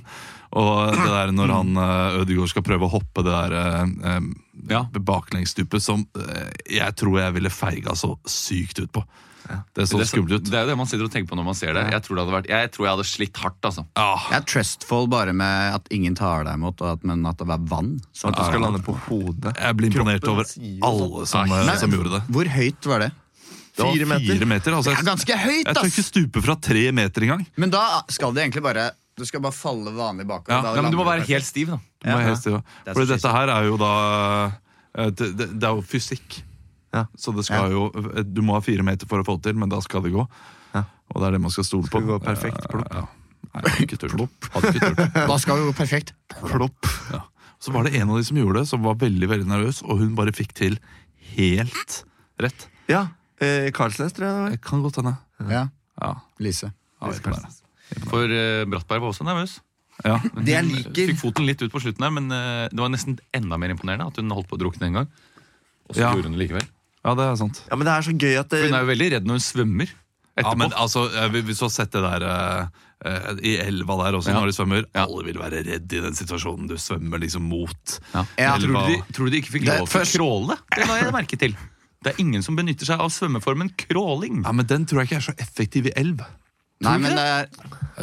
Speaker 1: Og det der når han eh, Ødegaard skal prøve å hoppe det der eh, eh,
Speaker 2: Ja.
Speaker 1: baklengsstupet som eh, jeg tror jeg ville feiga så sykt ut på. Det så
Speaker 2: Det er så-
Speaker 1: skummelt ut.
Speaker 2: Det er jo det man sitter og tenker på når man ser det. Jeg tror, det hadde vært, jeg, tror jeg hadde slitt hardt, altså.
Speaker 1: Ja,
Speaker 4: Jeg er trustful bare med at ingen tar deg imot, og at, men at det er vann. som
Speaker 3: At du
Speaker 4: tar
Speaker 3: skal
Speaker 4: deg imot.
Speaker 3: lande på hodet.
Speaker 1: jeg blir imponert over
Speaker 3: sier jo
Speaker 1: alle som, eh,
Speaker 4: Nei,
Speaker 1: som gjorde det.
Speaker 4: Hvor høyt var det?
Speaker 1: Det var
Speaker 3: Fire meter.
Speaker 1: Fire meter altså,
Speaker 4: Det
Speaker 1: jeg,
Speaker 4: er ganske høyt,
Speaker 1: jeg tror ikke
Speaker 4: ass!
Speaker 1: stupe fra tre meter engang.
Speaker 4: Men da skal det egentlig bare Du skal bare falle vanlig bakover.
Speaker 1: Ja,
Speaker 4: da
Speaker 2: Ja, men du må
Speaker 4: lander
Speaker 2: være
Speaker 4: perfekt.
Speaker 2: helt stiv, da.
Speaker 1: Det må jeg
Speaker 4: Ja.
Speaker 1: helst gjøre.
Speaker 4: Det er
Speaker 1: Fordi
Speaker 4: så
Speaker 1: dette her er jo da eh, Det, det, det er jo fysikk.
Speaker 3: Ja.
Speaker 1: Så det skal jo Du må ha fire meter for å få det til, men da skal det gå.
Speaker 3: Ja.
Speaker 1: Og det er det man skal stole
Speaker 3: Skal
Speaker 1: på.
Speaker 3: gå perfekt, plopp.
Speaker 1: Ja, ja. Nei, jeg hadde ikke turt. Hadde ikke turt.
Speaker 3: (laughs)
Speaker 4: Da skal det gå perfekt.
Speaker 1: Plopp. Ja. Så var det en av de som gjorde det, som var veldig veldig nervøs, og hun bare fikk til helt rett.
Speaker 3: Ja. Eh, Karlsnes, tror jeg det var.
Speaker 1: Det kan godt hende.
Speaker 4: Ja,
Speaker 1: Ja.
Speaker 4: Lise.
Speaker 1: Ja, jeg kan det.
Speaker 2: For eh, Brattberg var også nervøs.
Speaker 1: ja.
Speaker 4: Det jeg
Speaker 2: Hun
Speaker 4: liker-
Speaker 2: Fikk foten litt ut på slutten her, men eh, det var nesten enda mer imponerende at hun holdt på å drukne en gang. Og så
Speaker 1: Ja.
Speaker 2: gjorde hun det likevel.
Speaker 1: ja, det er sant.
Speaker 3: Ja, men det er så gøy at det,
Speaker 2: For hun er jo veldig redd når hun svømmer. Etterpå.
Speaker 1: Ja, men altså, eh, vi- Hvis du har sett det der eh, eh, i elva der også,
Speaker 2: Ja.
Speaker 1: når de svømmer Alle vil være redd i den situasjonen du svømmer liksom mot.
Speaker 2: ja.
Speaker 4: Ja.
Speaker 2: tror, du de, tror du de ikke fikk
Speaker 4: Det-
Speaker 2: lov til å
Speaker 4: først-
Speaker 2: kråle? Det la jeg merke til. Det er ingen som benytter seg av svømmeformen crawling.
Speaker 1: Ja, men Den tror jeg ikke er så effektiv i elv.
Speaker 4: Nei, men det er,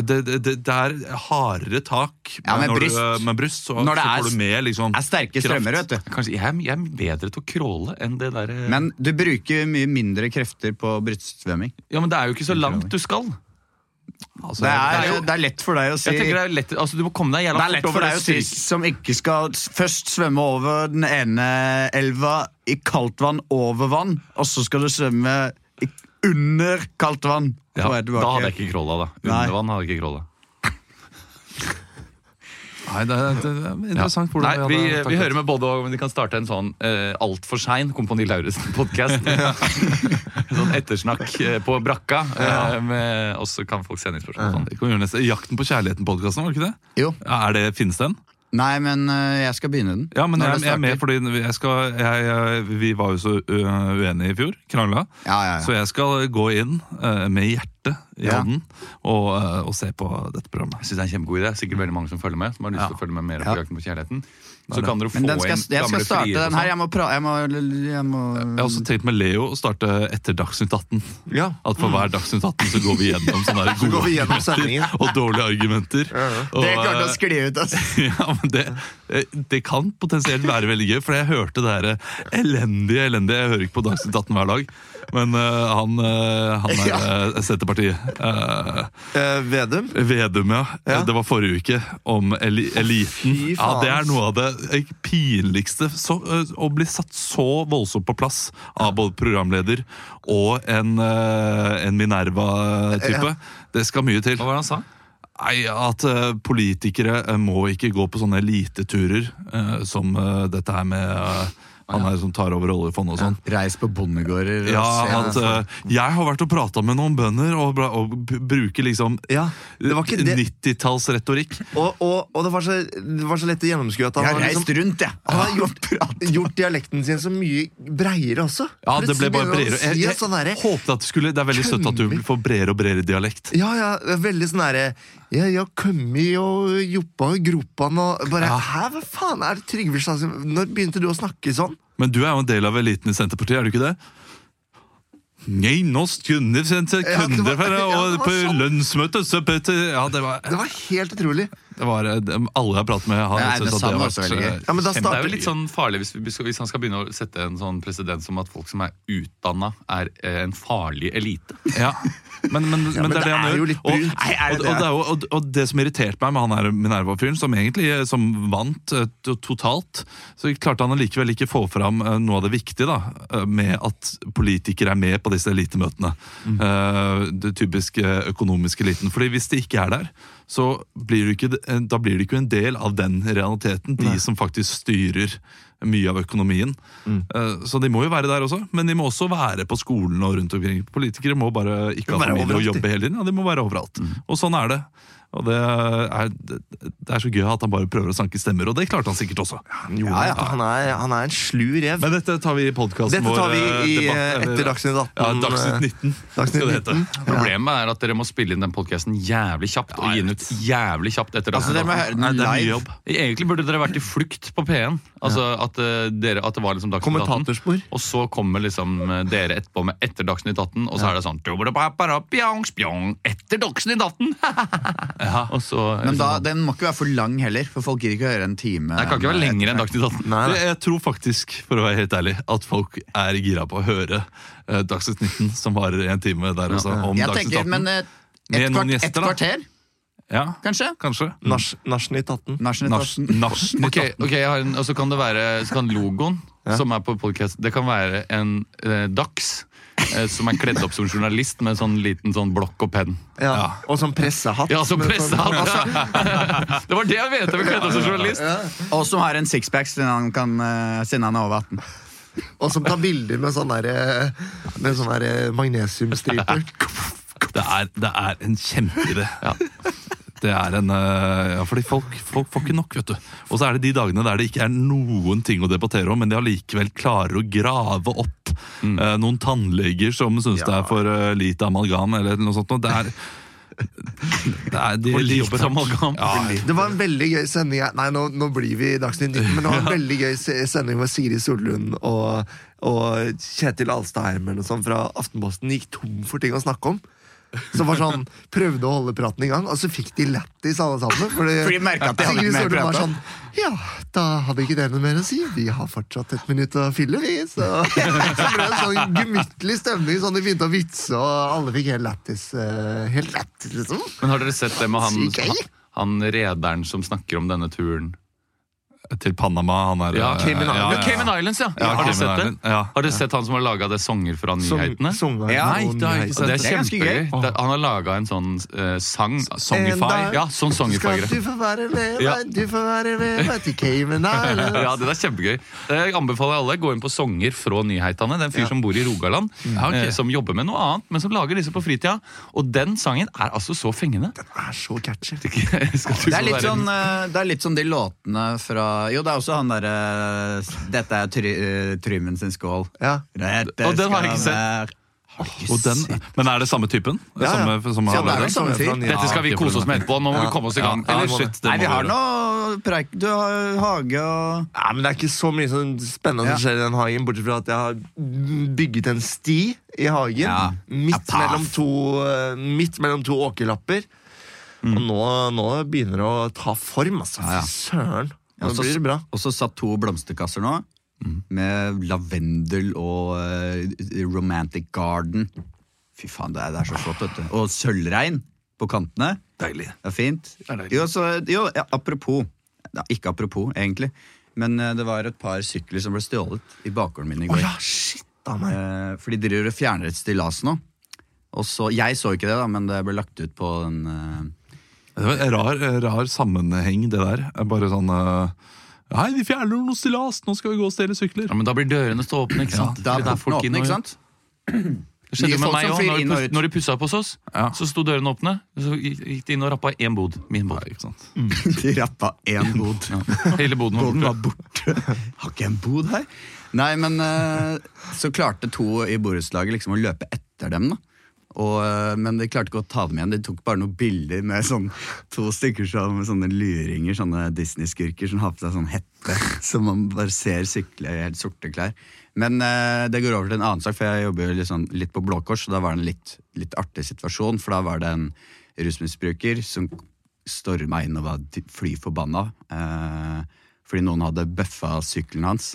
Speaker 1: Det, det, det, det er hardere tak
Speaker 4: Ja, med
Speaker 1: når
Speaker 4: bryst.
Speaker 1: Du, eh, med bryst så,
Speaker 4: Når det
Speaker 1: så
Speaker 4: er
Speaker 1: får
Speaker 4: s-
Speaker 1: du med liksom
Speaker 4: er sterke strømmer, vet du.
Speaker 2: Kanskje, jeg, er, jeg er bedre til å crawle enn det eh. derre
Speaker 4: Men du bruker mye mindre krefter på brystsvømming.
Speaker 2: Ja, men det er jo ikke så langt du skal.
Speaker 1: altså,
Speaker 4: Det
Speaker 2: det er
Speaker 4: er,
Speaker 2: jo-
Speaker 4: det er lett for deg å si
Speaker 2: Jeg tenker det er lett, altså Du må komme deg
Speaker 4: Det
Speaker 2: jævla
Speaker 4: er lett
Speaker 2: fort
Speaker 4: for
Speaker 2: over
Speaker 4: deg å si
Speaker 2: stryk.
Speaker 4: som ikke skal s- først svømme over den ene elva i kaldt vann over vann, og så skal du svømme i- under kaldt vann.
Speaker 2: Ja,
Speaker 4: på vei
Speaker 2: da hadde jeg
Speaker 4: tilbake.
Speaker 2: ikke crawla, da.
Speaker 4: Nei.
Speaker 2: Under vann hadde jeg ikke crawla.
Speaker 1: Nei, det, er- det er interessant
Speaker 2: Nei,
Speaker 1: hvordan
Speaker 2: vi,
Speaker 1: hadde
Speaker 2: vi
Speaker 1: taklet.
Speaker 2: hører med både og, men vi kan starte en sånn eh, altfor sein Kompani (laughs) Lauritzen-podkast. sånn ettersnakk eh, på brakka. eh, med, og så kan folk sende inn spørsmål. og Sånn.
Speaker 1: Det kan vi gjøre neste. Jakten på kjærligheten-podkasten, var det ikke det?
Speaker 4: Jo.
Speaker 1: Ja, er det, Finnes den?
Speaker 4: Nei, men øh, jeg skal begynne den.
Speaker 1: Ja, men
Speaker 4: Når
Speaker 1: jeg,
Speaker 4: det
Speaker 1: jeg er med
Speaker 4: starter.
Speaker 1: fordi jeg skal, jeg, jeg, vi var jo så øh, uenige i fjor. Krangla.
Speaker 4: Ja, ja,
Speaker 1: Så
Speaker 4: ja.
Speaker 1: jeg skal gå inn eh, med hjertet i
Speaker 4: Ja.
Speaker 1: hånden og, eh, og se på dette programmet.
Speaker 2: Jeg synes det er en kjempegod idé. Sikkert veldig mange som følger med. Som har lyst til å følge med mer på
Speaker 4: Mm. Ja.
Speaker 2: Jakten på kjærligheten. Så kan dere få
Speaker 4: Men den skal,
Speaker 2: inn
Speaker 4: jeg skal
Speaker 2: gamle
Speaker 4: starte
Speaker 2: friere og
Speaker 4: den her.
Speaker 2: sånn.
Speaker 4: Jeg må pra... Jeg må, jeg må
Speaker 1: Jeg har også tenkt med Leo å starte etter Dagsnytt 18.
Speaker 3: Ja.
Speaker 1: At for hver Dagsnytt 18 så går vi gjennom sånne her
Speaker 3: (laughs) Så går vi
Speaker 1: gode
Speaker 3: gjennom sendingen.
Speaker 1: og dårlige argumenter. Og,
Speaker 4: Det klarte å skli ut, altså.
Speaker 1: eh, (laughs) ja, men det, eh, det kan potensielt være veldig gøy, for jeg hørte det her eh, elendige, elendige Jeg hører ikke på Dagsnytt 18 hver dag, men eh, han, eh, han er eh, Senterpartiet. eh,
Speaker 3: Eh, Vedum.
Speaker 1: Vedum, ja.
Speaker 3: Ja.
Speaker 1: Det var forrige uke. Om eli eliten.
Speaker 3: Fy faen,
Speaker 1: Ja, Det er noe av det eh, pinligste. Så, ø, å bli satt så voldsomt på plass av både programleder og en, ø, en Minerva-type, det skal mye til.
Speaker 2: Hva var det han sa?
Speaker 1: Nei, At ø, politikere ø, må ikke gå på sånne eliteturer ø, som ø, dette her med ø, han her som tar over oljefondet og sånn.
Speaker 4: Reis på bondegårder og
Speaker 1: Ja, at
Speaker 4: se
Speaker 1: ø, Jeg har vært og prata med noen bønder og, bra- og b- bruker liksom
Speaker 3: Ja, det var ikke det.
Speaker 1: 90-tallsretorikk.
Speaker 3: Og, og, og det, var så, det var så lett å gjennomskue at
Speaker 4: Jeg
Speaker 3: han
Speaker 4: har
Speaker 3: har,
Speaker 4: reist
Speaker 3: liksom,
Speaker 4: rundt, jeg.
Speaker 3: han har gjort, gjort dialekten sin så mye breiere også.
Speaker 1: Ja, det ble bare
Speaker 3: Plutselig
Speaker 1: bredere.
Speaker 3: begynner han å
Speaker 1: Jeg,
Speaker 3: si
Speaker 1: jeg,
Speaker 3: at sånn derre-
Speaker 1: håpet at du skulle, Det er veldig søtt at du
Speaker 3: Kømmer.
Speaker 1: får bredere og bredere dialekt.
Speaker 3: Ja, ja, veldig sånn derre Jeg har kommet og joppa og gropan og bare Hæ, hva faen er det Trygve Slagsvold Når begynte du å snakke sånn?
Speaker 1: Men du er jo en del av eliten i Senterpartiet, er du ikke det? Nei, norsk kundesenter,
Speaker 3: Ja, det var-
Speaker 1: kundefere,
Speaker 3: (laughs) ja, det
Speaker 1: og
Speaker 3: var
Speaker 1: på
Speaker 3: sant.
Speaker 1: lønnsmøte så putter- Ja, det var,
Speaker 3: Det var helt utrolig.
Speaker 1: det var dem- Alle jeg pratet med, har eh,
Speaker 4: Nei, men
Speaker 1: syntes at det
Speaker 4: Sand
Speaker 1: var
Speaker 4: var også veldig gøy.
Speaker 3: Ja, men da
Speaker 2: Det er
Speaker 3: starter
Speaker 2: jo litt sånn farlig hvis, vi, hvis han skal begynne å sette en sånn presedens som at folk som er utdanna, er eh, en farlig elite.
Speaker 1: Ja. Men, men, men, det er det han gjør.
Speaker 3: jo litt
Speaker 1: Og-
Speaker 3: brunt.
Speaker 1: Nei, er det det? Og, og, det er jo- og, og det som irriterte meg med han her Minerva-fyren, som egentlig eh, som vant eh, to- totalt, så klarte han likevel ikke få fram eh, noe av det viktige da, eh, med at politikere er med på disse elitemøtene. Eh, Det typiske økonomiske eliten. Fordi hvis de ikke er der, så blir du ikke, eh, da blir du ikke en del av den realiteten, de som faktisk styrer mye av økonomien. Eh, Så de må jo være der også, men de må også være på skolen og rundt omkring. Politikere må bare ikke ha
Speaker 3: Være
Speaker 1: familie og
Speaker 3: overalt, de.
Speaker 1: jobbe hele tiden. Ja, de må være overalt.
Speaker 3: Mm.
Speaker 1: Og sånn er det. Og det er, det er så gøy at han bare prøver å sanke stemmer, og det klarte han sikkert også.
Speaker 3: Ja, ja, han, er, han er en slu rev.
Speaker 1: Men dette tar vi i podkasten
Speaker 3: Dette
Speaker 1: vår.
Speaker 3: tar vi
Speaker 1: eh,
Speaker 3: i,
Speaker 1: debatt,
Speaker 3: eh,
Speaker 1: eller-
Speaker 3: etter Dagsnytt 18.
Speaker 1: Ja, Dagsnytt 19.
Speaker 3: Dagsnytt
Speaker 1: skal det hete.
Speaker 3: 19.
Speaker 2: Problemet er at dere må spille inn den podkasten jævlig kjapt og gi den ut jævlig kjapt etter
Speaker 4: Altså, det må jeg høre
Speaker 1: Nei,
Speaker 4: den
Speaker 1: det er mye
Speaker 4: live.
Speaker 1: jobb.
Speaker 2: Egentlig burde dere vært i flukt på P1. Altså at, eh, dere, at det var liksom Dagsnytt 18.
Speaker 3: Kommentatorspor.
Speaker 2: Og så kommer liksom eh, dere etterpå med etter Dagsnytt 18, og så er det sånn "Tubbidi-babara, bjongs, bjong, Etter Dagsnytt 18!
Speaker 3: (laughs)
Speaker 2: Og så eh,
Speaker 4: Men da, den må ikke være for lang heller, for folk gidder ikke å høre en time.
Speaker 2: sånn. Det kan ikke være lengre enn Dagsnytt 18.
Speaker 3: Nei,
Speaker 1: Det,
Speaker 3: nei.
Speaker 1: jeg tror faktisk, for å være helt ærlig, at folk er gira på å høre eh, Dagsnytt 19, som varer en time der også, om
Speaker 4: Jeg
Speaker 1: Dagsnytt 18.
Speaker 4: tenker, men eh,
Speaker 1: Med
Speaker 4: et,
Speaker 1: noen
Speaker 4: kvart,
Speaker 1: gjester,
Speaker 4: et
Speaker 1: da.
Speaker 4: kvarter,
Speaker 1: ja,
Speaker 4: kanskje?
Speaker 1: kanskje.
Speaker 3: Nach- Nachnytt 18.
Speaker 4: Narsnytt
Speaker 1: Nach-
Speaker 4: 18.
Speaker 1: Nachsnytt
Speaker 2: Ok, ok, jeg har en, og så kan det være Så kan logoen som er på podcast Det kan være en eh, dags eh, Som er kledd opp som journalist Med en sånn liten sånn blokk og penn
Speaker 3: Ja. Og sånn pressehatt.
Speaker 2: Ja, som
Speaker 3: med
Speaker 2: pressa
Speaker 3: sånn-
Speaker 2: Det var det jeg mente med kledd opp som journalist
Speaker 4: Og som har en sixpack, siden han kan eh, siden han er over 18.
Speaker 3: (laughs) Og som tar bilder med sånn derre Med sånn derre magnesiumstriper.
Speaker 1: Det er, det er en kjempeidé. Det er en, eh, ja, fordi folk, folk får ikke nok, vet du. Og så er det de dagene der det ikke er noen ting å debattere om, men de allikevel klarer å grave opp eh, noen tannleger som syns det er for eh, lite amalgam, eller noe sånt. noe. Det er, det er de,
Speaker 2: For
Speaker 1: de
Speaker 2: lite
Speaker 1: jobber hardt.
Speaker 2: amalgam.
Speaker 1: Ja,
Speaker 3: Det var en veldig gøy sending her- Nei, nå, nå blir vi i Dagsnytt 19, men det var en veldig gøy se- sending med Siri Solund og, og Kjetil Alstadheim eller noe sånt fra Aftenposten gikk tom for ting å snakke om. Som var sånn, prøvde å holde praten i gang, og så fikk de lættis alle sammen. Fordi,
Speaker 4: For de merket at de hadde
Speaker 3: Sigrid
Speaker 4: ikke mer
Speaker 3: Solund var
Speaker 4: prat.
Speaker 3: sånn Ja, da hadde ikke dere noe mer å si. Vi har fortsatt et minutt å fylle, vi. Så, (laughs) så ble det en sånn gemyttlig stemning, sånn de begynte å vitse, og alle fikk helt lættis. eh, Helt lættis, liksom.
Speaker 2: Men har dere sett det med han,
Speaker 3: Syk gøy.
Speaker 2: han, han rederen som snakker om denne turen
Speaker 1: til Panama, han er
Speaker 2: Ja,
Speaker 1: eh,
Speaker 3: Cayman Islands.
Speaker 1: ja, ja, ja.
Speaker 2: Cayman Islands, ja,
Speaker 1: Ja,
Speaker 2: Har dere
Speaker 1: Cayman
Speaker 2: sett det?
Speaker 1: Island, ja.
Speaker 2: Har dere sett han som har laget det songer fra nyhetene?
Speaker 3: Sung-
Speaker 4: Ja,
Speaker 3: sungeren
Speaker 1: Nei,
Speaker 3: og
Speaker 1: det har jeg ikke
Speaker 2: Og
Speaker 1: sett.
Speaker 2: det er
Speaker 4: Det er ganske gøy.
Speaker 2: kjempegøy Det- Han har laget en sånn eh, sang
Speaker 1: Songify.
Speaker 3: Enda-
Speaker 2: Ja, sånn songify
Speaker 3: Skal du få være med
Speaker 2: Ja.
Speaker 3: meg, du får være med meg til Cayman Islands.
Speaker 2: (laughs) Ja, det er kjempegøy. Det anbefaler alle. Gå inn på Songer fra Nyheitane. Det er en fyr som bor i Rogaland,
Speaker 1: Ja, ok.
Speaker 2: eh, som jobber med noe annet, men som lager disse på fritida. Og den sangen er altså så fengende.
Speaker 3: Det er så catchy.
Speaker 4: Det
Speaker 2: Det
Speaker 4: er, litt sånn, eh, det er litt sånn de låtene fra Jo, det er også han derre Dette er try, eh, Trymmen sin skål.
Speaker 3: Ja.
Speaker 4: Dette
Speaker 2: Og den har jeg ikke
Speaker 4: skal
Speaker 2: sett.
Speaker 4: være-
Speaker 1: Og den, men er det samme typen? eh,
Speaker 3: ja.
Speaker 1: Samme, samme,
Speaker 4: Ja, det er
Speaker 1: arbeider?
Speaker 4: jo samme fyr.
Speaker 2: Dette skal vi kose oss med etterpå. Nå må vi komme oss i gang.
Speaker 1: Ja,
Speaker 2: Eller
Speaker 1: må det.
Speaker 2: shit.
Speaker 1: Det
Speaker 4: Nei,
Speaker 1: må
Speaker 4: vi har
Speaker 1: gjøre.
Speaker 4: noe preik... Du har hage og
Speaker 3: Nei, men Det er ikke så mye sånn spennende som
Speaker 4: Ja.
Speaker 3: skjer i den hagen, bortsett fra at jeg har bygget en sti i hagen.
Speaker 4: Ja. Ja,
Speaker 3: Midt,
Speaker 4: paf.
Speaker 3: mellom to, eh, midt mellom to åkerlapper. Og nå, nå begynner det å ta form, altså.
Speaker 4: Ja, ja.
Speaker 3: Fy søren. Nå
Speaker 4: Og så-
Speaker 3: blir det bra.
Speaker 4: Og så satt to blomsterkasser nå, med lavendel og eh, romantic garden. Fy faen, det er, det er så flott, vet du. Og sølvregn på kantene.
Speaker 1: Deilig.
Speaker 4: Det er fint.
Speaker 1: er deilig.
Speaker 4: Jo, så, jo ja, apropos. Ja, ikke apropos, egentlig. Men eh, det var et par sykler som ble stjålet i bakgården min i går.
Speaker 3: Ja, shit da, meg.
Speaker 4: Eh, For de driver og fjerner et stillas nå. Og så, Jeg så ikke det, da, men det ble lagt ut på den eh,
Speaker 1: Det var en rar, rar sammenheng, det der. Bare sånn eh, Hei, de fjerner noe stillas! Nå skal vi gå og stjele sykler!
Speaker 2: Ja, men da blir dørene stå åpne, ikke sant?
Speaker 4: Da
Speaker 2: Fordi
Speaker 4: er
Speaker 2: det er
Speaker 4: porten
Speaker 2: folk inn
Speaker 4: åpen,
Speaker 2: og
Speaker 4: ikke
Speaker 2: ut.
Speaker 4: sant?
Speaker 2: Det skjedde
Speaker 4: Mye
Speaker 2: med
Speaker 4: folk
Speaker 2: meg
Speaker 4: som
Speaker 2: også.
Speaker 4: flyr
Speaker 2: Når,
Speaker 4: inn
Speaker 2: de
Speaker 4: og
Speaker 2: pus-
Speaker 4: ut.
Speaker 2: når de pussa opp hos oss,
Speaker 1: Ja.
Speaker 2: så sto dørene åpne. Så gikk de inn og rappa én bod. Min bod.
Speaker 1: Ikke sant?
Speaker 4: (laughs) De rappa én bod.
Speaker 2: Ja.
Speaker 4: (laughs)
Speaker 2: Hele boden var
Speaker 4: Boden
Speaker 2: borte.
Speaker 4: var borte. Har ikke jeg en bod her? Nei, men eh, så klarte to i borettslaget liksom å løpe etter dem, da. Og, eh, men de klarte ikke å ta dem igjen. De tok bare noen bilder med sånn, to stykker som med sånne luringer, sånne Disney-skurker som har på seg sånn hette, som man bare ser sykle i helt sorte klær. Men eh, det går over til en annen sak, for jeg jobber jo litt, sånn, litt på Blå Kors, og da var det en litt, litt artig situasjon, for da var det en rusmisbruker som storma inn og var d- fly forbanna eh, fordi noen hadde bøffa sykkelen hans.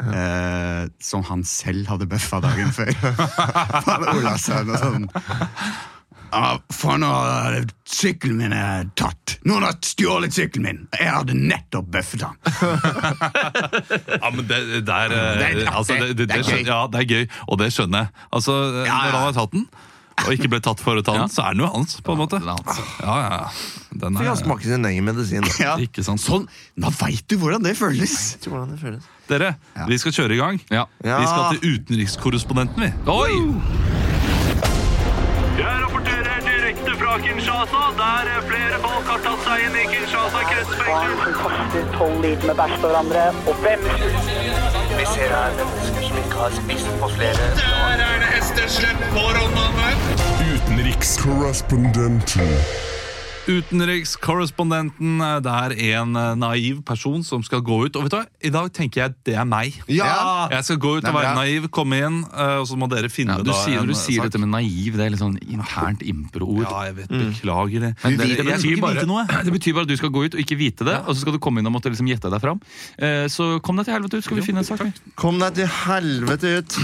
Speaker 4: Eh, som han selv hadde bøffa dagen før. Faen, Olavsøen og sånn. Ja, faen, nå har sykkelen min er tatt. Noen har stjålet sykkelen min! Jeg hadde nettopp bøffet han.
Speaker 1: Ja, men det, det er eh,
Speaker 4: Det er artig.
Speaker 1: altså, det, det,
Speaker 4: Det er
Speaker 1: det skjønner,
Speaker 4: gøy.
Speaker 1: Ja, det er gøy, og det skjønner jeg. Altså, eh,
Speaker 4: ja.
Speaker 1: Når han har tatt den, og ikke ble tatt for å ta den, så er den jo hans, på en måte.
Speaker 2: den er hans.
Speaker 1: Ja, ja, ja. Den
Speaker 3: Fikk han
Speaker 1: er,
Speaker 3: smake sin egen medisin. da.
Speaker 4: Ja.
Speaker 1: ikke sant.
Speaker 4: Sånn, Nå veit du hvordan det føles!
Speaker 3: Vet du hvordan det føles?
Speaker 1: Dere, vi skal kjøre i gang.
Speaker 2: Ja.
Speaker 3: Ja.
Speaker 1: Vi skal til utenrikskorrespondenten, vi.
Speaker 2: Oi!
Speaker 5: Jeg rapporterer direkte fra Kinshasa, der flere folk har tatt seg inn i Kinshasa kretsfengsel.
Speaker 6: barn som kaster tolv liter med bæsj på hverandre, og bremser
Speaker 7: Vi ser her mennesker som ikke har spist på flere
Speaker 8: Utenrikskorrespondenten.
Speaker 1: Utenrikskorrespondenten, eh, det er en eh, naiv person som skal gå ut. Og vet du hva, i dag tenker jeg at det er meg.
Speaker 3: Ja!
Speaker 1: Jeg skal gå ut og være naiv, komme inn, eh, og så må dere finne
Speaker 2: Ja, du
Speaker 1: da
Speaker 2: sier,
Speaker 1: en
Speaker 2: du sier
Speaker 1: sak.
Speaker 2: dette med naiv. Det er litt sånn internt impro-ord.
Speaker 1: Ja, jeg vet, beklager det.
Speaker 2: Men
Speaker 1: Men
Speaker 2: det,
Speaker 1: dere- jeg skal
Speaker 2: betyr
Speaker 1: ikke
Speaker 2: bare,
Speaker 1: vite noe.
Speaker 2: (laughs) det betyr bare at du skal gå ut og ikke vite det, og så skal du komme inn og måtte liksom gjette deg fram. Eh, Så kom deg til helvete ut, skal vi finne en sak. vi.
Speaker 3: Kom deg til helvete ut.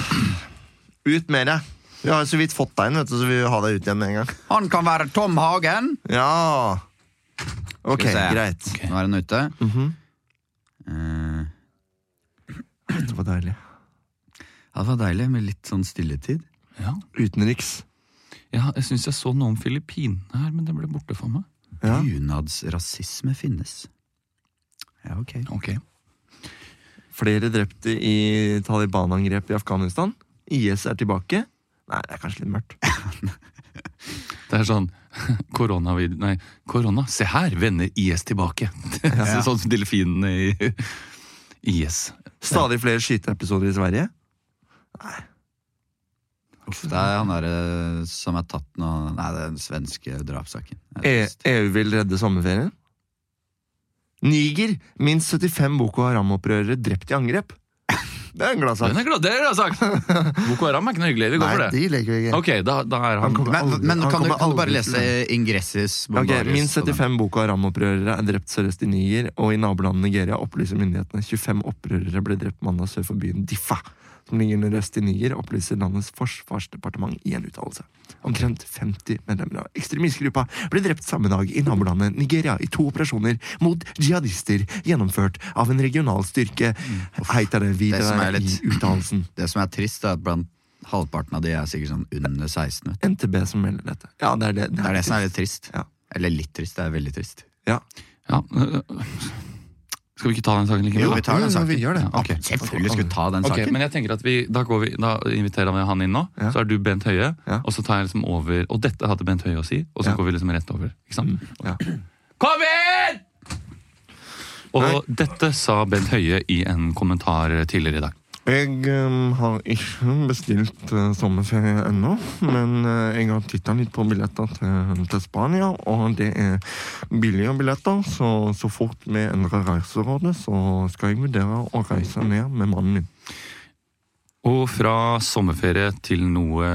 Speaker 3: Ut med deg. Vi har jo så vidt fått deg inn, vet du, så vi vil ha deg ut igjen med en gang.
Speaker 4: Han kan være Tom Hagen.
Speaker 3: Ja. Ok,
Speaker 4: Skal vi se.
Speaker 3: greit.
Speaker 4: Nå er han ute. Eh,
Speaker 3: Det var deilig.
Speaker 4: ja, det var deilig med litt sånn stilletid.
Speaker 3: Utenriks.
Speaker 2: Ja, jeg syns jeg så noe om Filippinene her, men det ble borte for meg.
Speaker 3: Ja.
Speaker 4: Bunadsrasisme finnes. Ja, ok.
Speaker 2: Ok.
Speaker 3: Flere drepte i Taliban-angrep i Afghanistan. IS er tilbake. Nei, det er kanskje litt mørkt.
Speaker 2: Det er sånn (laughs) koronavid... Nei, korona. Se her vender IS tilbake. (laughs) Det er sånn som delfinene i (laughs) IS.
Speaker 3: Stadig flere skyteepisoder i Sverige.
Speaker 4: Uff, det er han derre som er tatt nå Nei, det er den svenske drapssaken.
Speaker 3: E EU vil redde sommerferien. Niger. Minst 75 Boko Haram-opprørere drept i angrep. Det er en glad sak.
Speaker 2: Den er glad, det er glad sak! Boko Haram er ikke noe hyggelig. Vi går
Speaker 3: Nei,
Speaker 2: for det.
Speaker 3: de legger vi ikke.
Speaker 2: Ok, da, da er han
Speaker 3: kommer
Speaker 4: Men,
Speaker 3: aldri-
Speaker 4: men
Speaker 3: han
Speaker 4: kan, du,
Speaker 3: kommer
Speaker 4: kan du bare
Speaker 3: aldri til
Speaker 4: lese Ingresses
Speaker 3: Ok,
Speaker 4: bombaris
Speaker 3: Minst
Speaker 4: på den?
Speaker 3: 75 Boko Haram-opprørere er drept sørøst i Niger, og i nabolandet Nigeria opplyser myndighetene 25 opprørere ble drept mandag sør for byen Diffa, som ligger nordøst i Niger, opplyser landets forsvarsdepartement i en uttalelse. Omtrent 50 medlemmer av ekstremistgruppa ble drept samme dag i nabolandet Nigeria i to operasjoner mot jihadister gjennomført av en regional styrke, heter det
Speaker 4: Mm. Det som er
Speaker 3: videre i
Speaker 4: litt-
Speaker 3: uttalelsen.
Speaker 4: Det som er trist, er at blant halvparten av de er sikkert sånn under 16. Vet. du.
Speaker 3: NTB som melder dette. Ja, det er det.
Speaker 4: Det er det som er litt trist.
Speaker 3: Ja.
Speaker 4: Eller litt trist, det er veldig trist.
Speaker 3: Ja.
Speaker 2: ja. øh, Skal vi ikke ta den saken likevel?
Speaker 4: Jo,
Speaker 2: da?
Speaker 4: vi tar den
Speaker 3: Jo,
Speaker 4: saken.
Speaker 3: vi gjør det.
Speaker 4: Ja, ok. Selvfølgelig skulle vi ta den
Speaker 2: Ok,
Speaker 4: saken.
Speaker 2: men jeg tenker at vi, Da, går vi, da inviterer vi han inn nå.
Speaker 3: Ja.
Speaker 2: Så er du Bent Høie.
Speaker 3: Ja.
Speaker 2: Og så tar jeg liksom over Og dette hadde Bent Høie å si, og så
Speaker 3: Ja.
Speaker 2: går vi liksom rett over. Ikke sant?
Speaker 3: Ja.
Speaker 2: Kom inn! Og dette sa Bent Høie i en kommentar tidligere i dag.
Speaker 3: Jeg eh, har ikke bestilt eh, sommerferie ennå, men eh, jeg har titta litt på billetter til, til Spania, og det er billige billetter, så så fort vi endrer reiserådet, så skal jeg vurdere å reise ned med mannen min.
Speaker 2: Og fra sommerferie til noe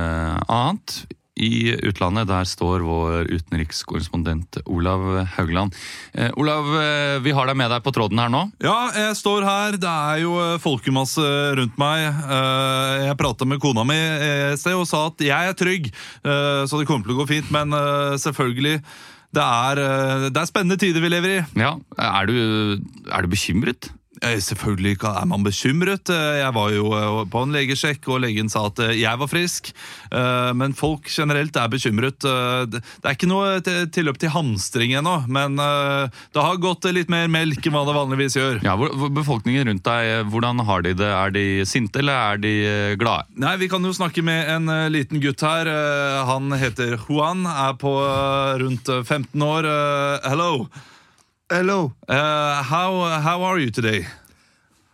Speaker 2: annet. I utlandet der står vår utenrikskorrespondent Olav Haugland. Eh, Olav, eh, vi har deg med deg på tråden her nå.
Speaker 1: Ja, jeg står her. Det er jo eh, folkemasse rundt meg. Eh, Jeg prata med kona mi eh, i sted og sa at jeg er trygg, eh, så det kommer til å gå fint. Men eh, selvfølgelig, det er, eh, det er spennende tider vi lever i.
Speaker 2: Ja, Er du, er du bekymret?
Speaker 1: Eh, Selvfølgelig ikke er man bekymret. Eh, Jeg var jo eh, på en legesjekk, og legen sa at eh, jeg var frisk. Eh, Men folk generelt er bekymret. Eh, Det det er ikke noe t- tilløp til hamstring ennå, men eh, det har gått eh, litt mer melk enn hva det vanligvis gjør.
Speaker 2: Ja, hvor- hvor- Befolkningen rundt deg, eh, hvordan har de det? Er de sinte, eller er de eh, glade?
Speaker 1: Nei, Vi kan jo snakke med en eh, liten gutt her. Eh, Han heter Juan, er på eh, rundt eh, 15 år. Eh, Hello.
Speaker 3: Hello,
Speaker 1: Eh, How, how are you today?
Speaker 3: eh,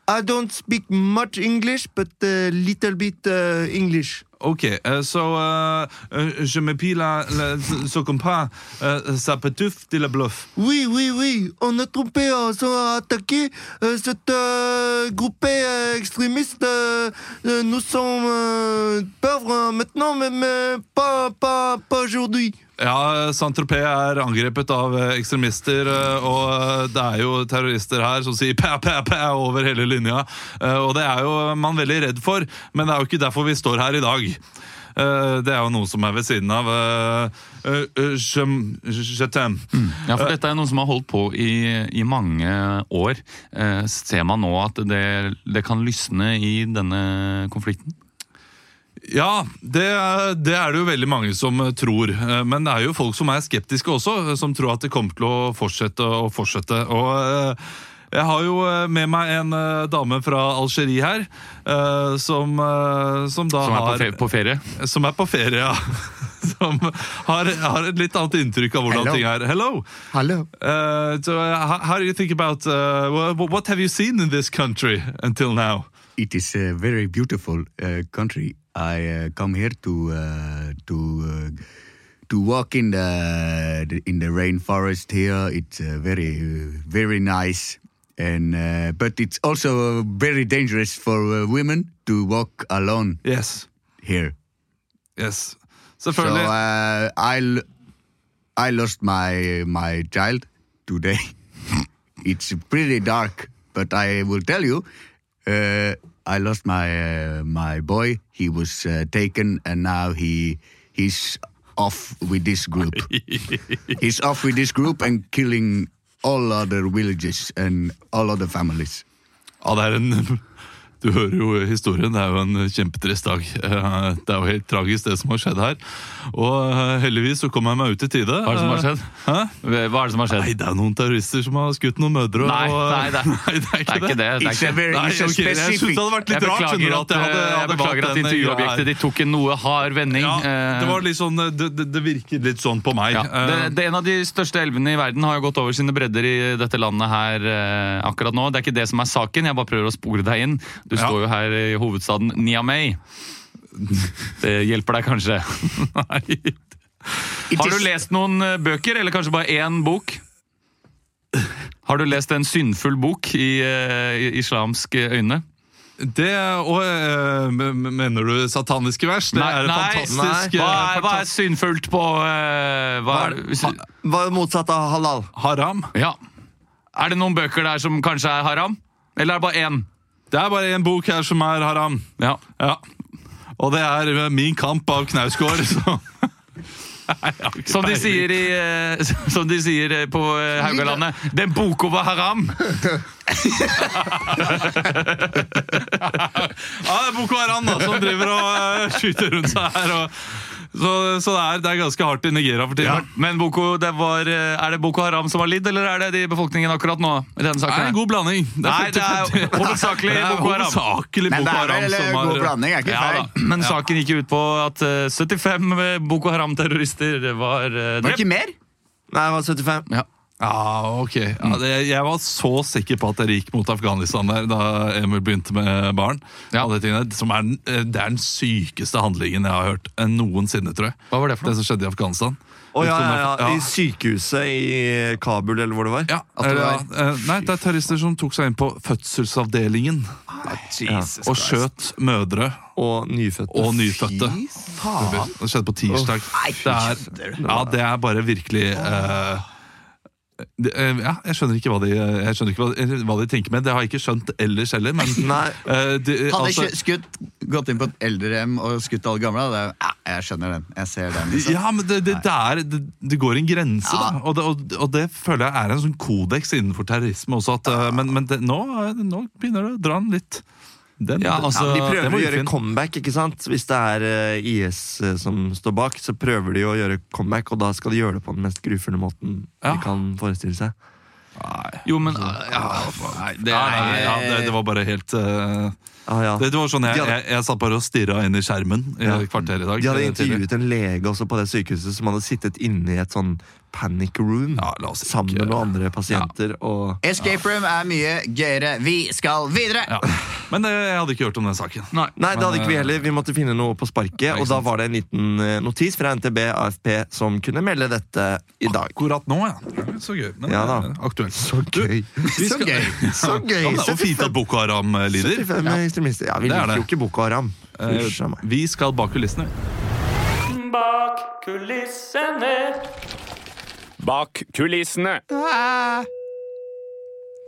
Speaker 3: I don't speak much English, but a little bit uh, English.
Speaker 1: Ok, eh, så eh, eh, Je m'épile la so compas eh, sa petouf de la bluff.
Speaker 3: Oui, oui, oui, on a trompé, on a attaqué euh, cette euh, groupe euh, extrémiste. euh, euh, nous sommes euh, pauvres euh, maintenant, mais, mais pas, pas, pas aujourd'hui.
Speaker 1: Ja, Saint-Tropez er angrepet av eh, ekstremister, eh, og eh, det er jo terrorister her som sier (laughs) pæ, pæ, pæ over hele linja. Eh, Og det er jo man veldig redd for, men det er jo ikke derfor vi står her i dag. Eh, Det er jo noe som er ved siden av. eh, eh, eh, Je je t'aime.
Speaker 2: Ja, for dette er noe som har holdt på i, i mange år. Eh, ser man nå at det, det kan lysne i denne konflikten?
Speaker 1: Ja, det, det er det jo veldig mange som tror. Eh, Men det er jo folk som er skeptiske også, eh, som tror at det kommer til å fortsette og fortsette. Og eh, jeg har jo eh, med meg en eh, dame fra Algerie her, eh, som, eh, som da
Speaker 2: Som er på,
Speaker 1: har
Speaker 2: fe på ferie?
Speaker 1: som er på ferie, ja. (laughs) Som har, har et litt annet inntrykk av hvordan
Speaker 3: Hello.
Speaker 1: ting er. Hello!
Speaker 3: Hallo.
Speaker 1: Uh, so, uh, how, how do you think about uh, wha- what have you seen in this country until now?
Speaker 4: It is a very beautiful uh, country. I uh, come here to uh, to uh, to walk in the, the in the rainforest here. It's uh, very uh, very nice, and uh, but it's also uh, very dangerous for uh, women to walk alone
Speaker 1: Yes.
Speaker 4: here.
Speaker 1: yes.
Speaker 4: So
Speaker 1: Selvfølgelig.
Speaker 4: uh, I l- I lost my my child today. (laughs) it's pretty dark, but I will tell you, uh, I lost my uh, my boy. He was uh, taken, and now he he's off with this group. he's off with this group and killing all other villages and all other families.
Speaker 1: Ja, det er en Du hører jo historien. Det er jo en kjempetrist dag. Eh, Det er jo helt tragisk, det som har skjedd her. Og eh, heldigvis så kom jeg meg ut i tide. Eh,
Speaker 2: Hva er det som har skjedd?
Speaker 1: Hæ?
Speaker 2: Hva er det som har skjedd?
Speaker 1: Nei, det er noen terrorister som har skutt noen mødre.
Speaker 2: Nei,
Speaker 1: og,
Speaker 2: nei,
Speaker 1: (laughs)
Speaker 2: det er-
Speaker 1: det er
Speaker 2: Det er ikke det. det er
Speaker 4: It's a
Speaker 2: ikke.
Speaker 1: (laughs)
Speaker 4: very
Speaker 1: Nei,
Speaker 4: it's
Speaker 1: ok, jeg
Speaker 4: a
Speaker 1: synes det
Speaker 4: specific.
Speaker 1: hadde vært
Speaker 2: Jeg
Speaker 1: litt rart.
Speaker 2: beklager
Speaker 1: skjønner du,
Speaker 2: at,
Speaker 1: jeg hadde-
Speaker 2: eh, jeg
Speaker 1: hadde valgt
Speaker 2: beklager at
Speaker 1: den greia her.
Speaker 2: intervjuobjektet ditt tok en noe hard vending.
Speaker 1: Ja,
Speaker 2: eh,
Speaker 1: det var litt sånn eh, Det, det, det virket litt sånn på meg.
Speaker 2: ja.
Speaker 1: Eh,
Speaker 2: det, det, er en av de største elvene i verden har jo gått over sine bredder i dette landet her eh, akkurat nå. Det er ikke det som er saken, jeg bare prøver å spore deg inn. Du
Speaker 1: Ja.
Speaker 2: står jo her i hovedstaden Niamey.
Speaker 1: (laughs)
Speaker 2: Det hjelper deg kanskje. (laughs) Nei.
Speaker 4: It
Speaker 2: Har
Speaker 4: is-
Speaker 2: du lest noen eh, bøker, eller kanskje bare én bok? Har du lest en syndfull bok i, eh, i islamske øyne?
Speaker 1: det og eh, men- men- Mener du sataniske vers? Det
Speaker 2: Nei,
Speaker 1: er et
Speaker 2: nei,
Speaker 1: fantastisk
Speaker 2: Hva
Speaker 1: eh,
Speaker 2: er, hva er syndfullt på eh, hva er, hvis,
Speaker 3: Ha, hva er motsatt av halal?
Speaker 1: Haram.
Speaker 2: Ja. Er det noen bøker der som kanskje er haram? Eller er det bare én?
Speaker 1: Det er bare én bok her som er haram.
Speaker 2: Ja.
Speaker 1: Ja. Og det er eh, Min kamp av Knausgård. (laughs) så-
Speaker 2: Som de sier, i, eh, (laughs) som de sier eh, på eh, Haugalandet Den boka var haram!
Speaker 1: Ja, det er Boko Haram da, som driver og eh, skyter rundt seg her. Og, så så det, er, det er ganske hardt i Nigeria for tiden.
Speaker 2: Men Boko, det var, eh, er det Boko Haram som har lidd, eller er det de i befolkningen akkurat nå? I denne
Speaker 1: Det
Speaker 2: saken
Speaker 1: er
Speaker 2: her?
Speaker 1: en god blanding. Det
Speaker 2: Nei, det er jo (laughs) hovedsakelig
Speaker 1: det er
Speaker 2: Boko Haram.
Speaker 1: hovedsakelig
Speaker 4: Men det
Speaker 1: Boko
Speaker 4: er
Speaker 1: Haram
Speaker 4: vel
Speaker 1: som
Speaker 4: en god
Speaker 1: har
Speaker 4: blanding, er ikke
Speaker 2: Ja,
Speaker 4: feil.
Speaker 2: da. Men saken gikk jo ut på at eh, 75 Boko Haram-terrorister var eh,
Speaker 4: Var det
Speaker 2: drept.
Speaker 4: ikke mer?
Speaker 3: Nei, jeg var 75.
Speaker 2: Ja.
Speaker 1: Ja, ok. Ja, det, jeg var så sikker på at dere gikk mot Afghanistan der da Emil begynte med barn.
Speaker 2: Ja.
Speaker 1: Og det, tingene, som er, den- eh, det er den sykeste handlingen jeg har hørt eh, noensinne, tror jeg.
Speaker 2: Hva var det for noe?
Speaker 1: Det som skjedde i Afghanistan.
Speaker 3: Å ja, ja, ja,
Speaker 1: Ja.
Speaker 3: i sykehuset i eh, Kabul, eller hvor det var.
Speaker 1: Ja,
Speaker 4: det
Speaker 1: eller,
Speaker 4: var-
Speaker 1: ja, eh, nei, det er terrorister som tok seg inn på fødselsavdelingen
Speaker 2: Ah,
Speaker 1: og skjøt mødre
Speaker 3: Og nyfødte.
Speaker 1: og nyfødte. Det skjedde på tirsdag. det, er, ja, det er bare virkelig eh, det, eh, ja, jeg skjønner ikke, hva de, jeg skjønner ikke hva, de, hva de tenker med. Det har jeg ikke skjønt ellers heller. Men,
Speaker 3: Nei.
Speaker 1: eh, de,
Speaker 4: Hadde
Speaker 1: altså-
Speaker 4: ikke skutt, gått inn på et eldrehjem og skutt alle gamle, hadde jeg ja, Jeg skjønner den. Jeg ser den. liksom.
Speaker 1: Ja, men det, det, det, er, det, det går en grense,
Speaker 4: Ja.
Speaker 1: da. Og det, og, og det føler jeg er en sånn kodeks innenfor terrorisme også. At, eh, Men, men det, nå, eh, nå begynner det å dra den litt. Den,
Speaker 2: Ja, altså,
Speaker 1: den-
Speaker 3: De
Speaker 1: den
Speaker 3: prøver
Speaker 1: var
Speaker 3: å gjøre
Speaker 1: ufin.
Speaker 3: comeback, ikke sant? Hvis det er eh, IS som står bak, så prøver de å gjøre comeback, og da skal de gjøre det på den mest grufulle måten
Speaker 1: Ja.
Speaker 3: de kan forestille seg.
Speaker 2: Jo, men eh, ja, nei, det,
Speaker 1: Nei, ja, det, det var bare helt eh,
Speaker 3: Ah, ja.
Speaker 1: det, det
Speaker 3: De
Speaker 1: var sånn jeg,
Speaker 3: De hadde-
Speaker 1: jeg, jeg satt bare og stirra inn i skjermen i et kvarter i dag.
Speaker 3: hadde
Speaker 1: eh, tidlig.
Speaker 3: intervjuet en lege også på det sykehuset som hadde sittet inne i et sånn panic room
Speaker 1: Ja, la oss ikke-
Speaker 3: sammen med noen andre pasienter. Og
Speaker 4: Escape room er mye gøyere. Vi skal videre!
Speaker 1: Ja. Men eh, jeg hadde ikke hørt om den saken.
Speaker 2: Nei.
Speaker 3: Nei, det
Speaker 1: Men, eh,
Speaker 3: hadde ikke vi heller. Vi måtte finne noe på sparket.
Speaker 1: ikke
Speaker 3: Og da
Speaker 1: sant.
Speaker 3: var det en liten eh, notis fra NTB AFP som kunne melde dette
Speaker 1: Ah,
Speaker 3: i dag.
Speaker 1: Akkurat nå, ja. Så gøy. Men
Speaker 3: Ja da.
Speaker 1: eh, aktuelt.
Speaker 3: Gøy.
Speaker 1: Vi skal-
Speaker 3: Så gøy!
Speaker 1: Ja, men, og fint at Boko Haram eh, lider.
Speaker 3: 75 ekstremister. Ja, vi
Speaker 1: Det er
Speaker 3: liker
Speaker 1: det.
Speaker 3: jo ikke Boko Haram.
Speaker 1: Eh,
Speaker 3: Hysj a meg.
Speaker 1: Vi skal bak kulissene.
Speaker 8: Bak kulissene.
Speaker 9: Bak kulissene.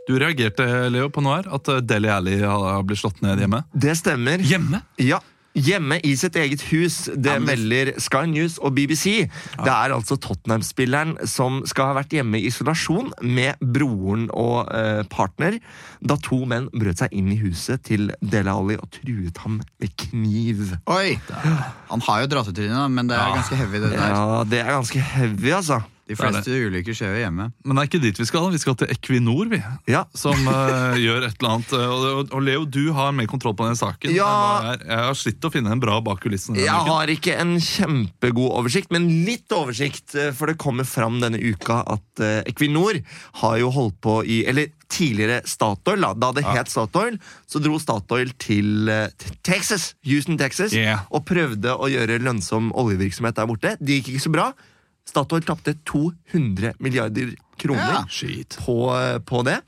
Speaker 1: Du reagerte, Leo, på noe her. At eh, Deli Alli har blitt slått ned hjemme.
Speaker 3: Det stemmer.
Speaker 1: Hjemme?
Speaker 3: Ja. Hjemme i sitt eget hus. Det melder Sky News og BBC. Det er altså Tottenham-spilleren som skal ha vært hjemme i isolasjon med broren og eh, partner da to menn brøt seg inn i huset til Dele Alli og truet ham med kniv.
Speaker 4: Oi! Han har jo dratt ut trynet, da, men det er ganske heavy, det der.
Speaker 3: Ja, det er ganske heavy, altså.
Speaker 4: De fleste ulykker skjer jo hjemme.
Speaker 1: Men det er ikke dit vi skal. Vi skal til Equinor, vi.
Speaker 3: Ja.
Speaker 1: Som eh, (laughs) gjør et eller annet. eh, og, og Leo, du har mer kontroll på den saken. enn
Speaker 3: Ja.
Speaker 1: hva jeg er. Jeg har slitt å finne en bra bak kulissene. denne
Speaker 3: Jeg
Speaker 1: uken.
Speaker 3: har ikke en kjempegod oversikt, men litt oversikt. eh, For det kommer fram denne uka at eh, Equinor har jo holdt på i Eller tidligere Statoil, da. Da det het Statoil, så dro Statoil til eh, til Texas, Houston, Texas,
Speaker 1: Yeah.
Speaker 3: og prøvde å gjøre lønnsom oljevirksomhet der borte. Det gikk ikke så bra. Statoil tapte 200 milliarder kroner
Speaker 4: Ja.
Speaker 3: på, eh, på det.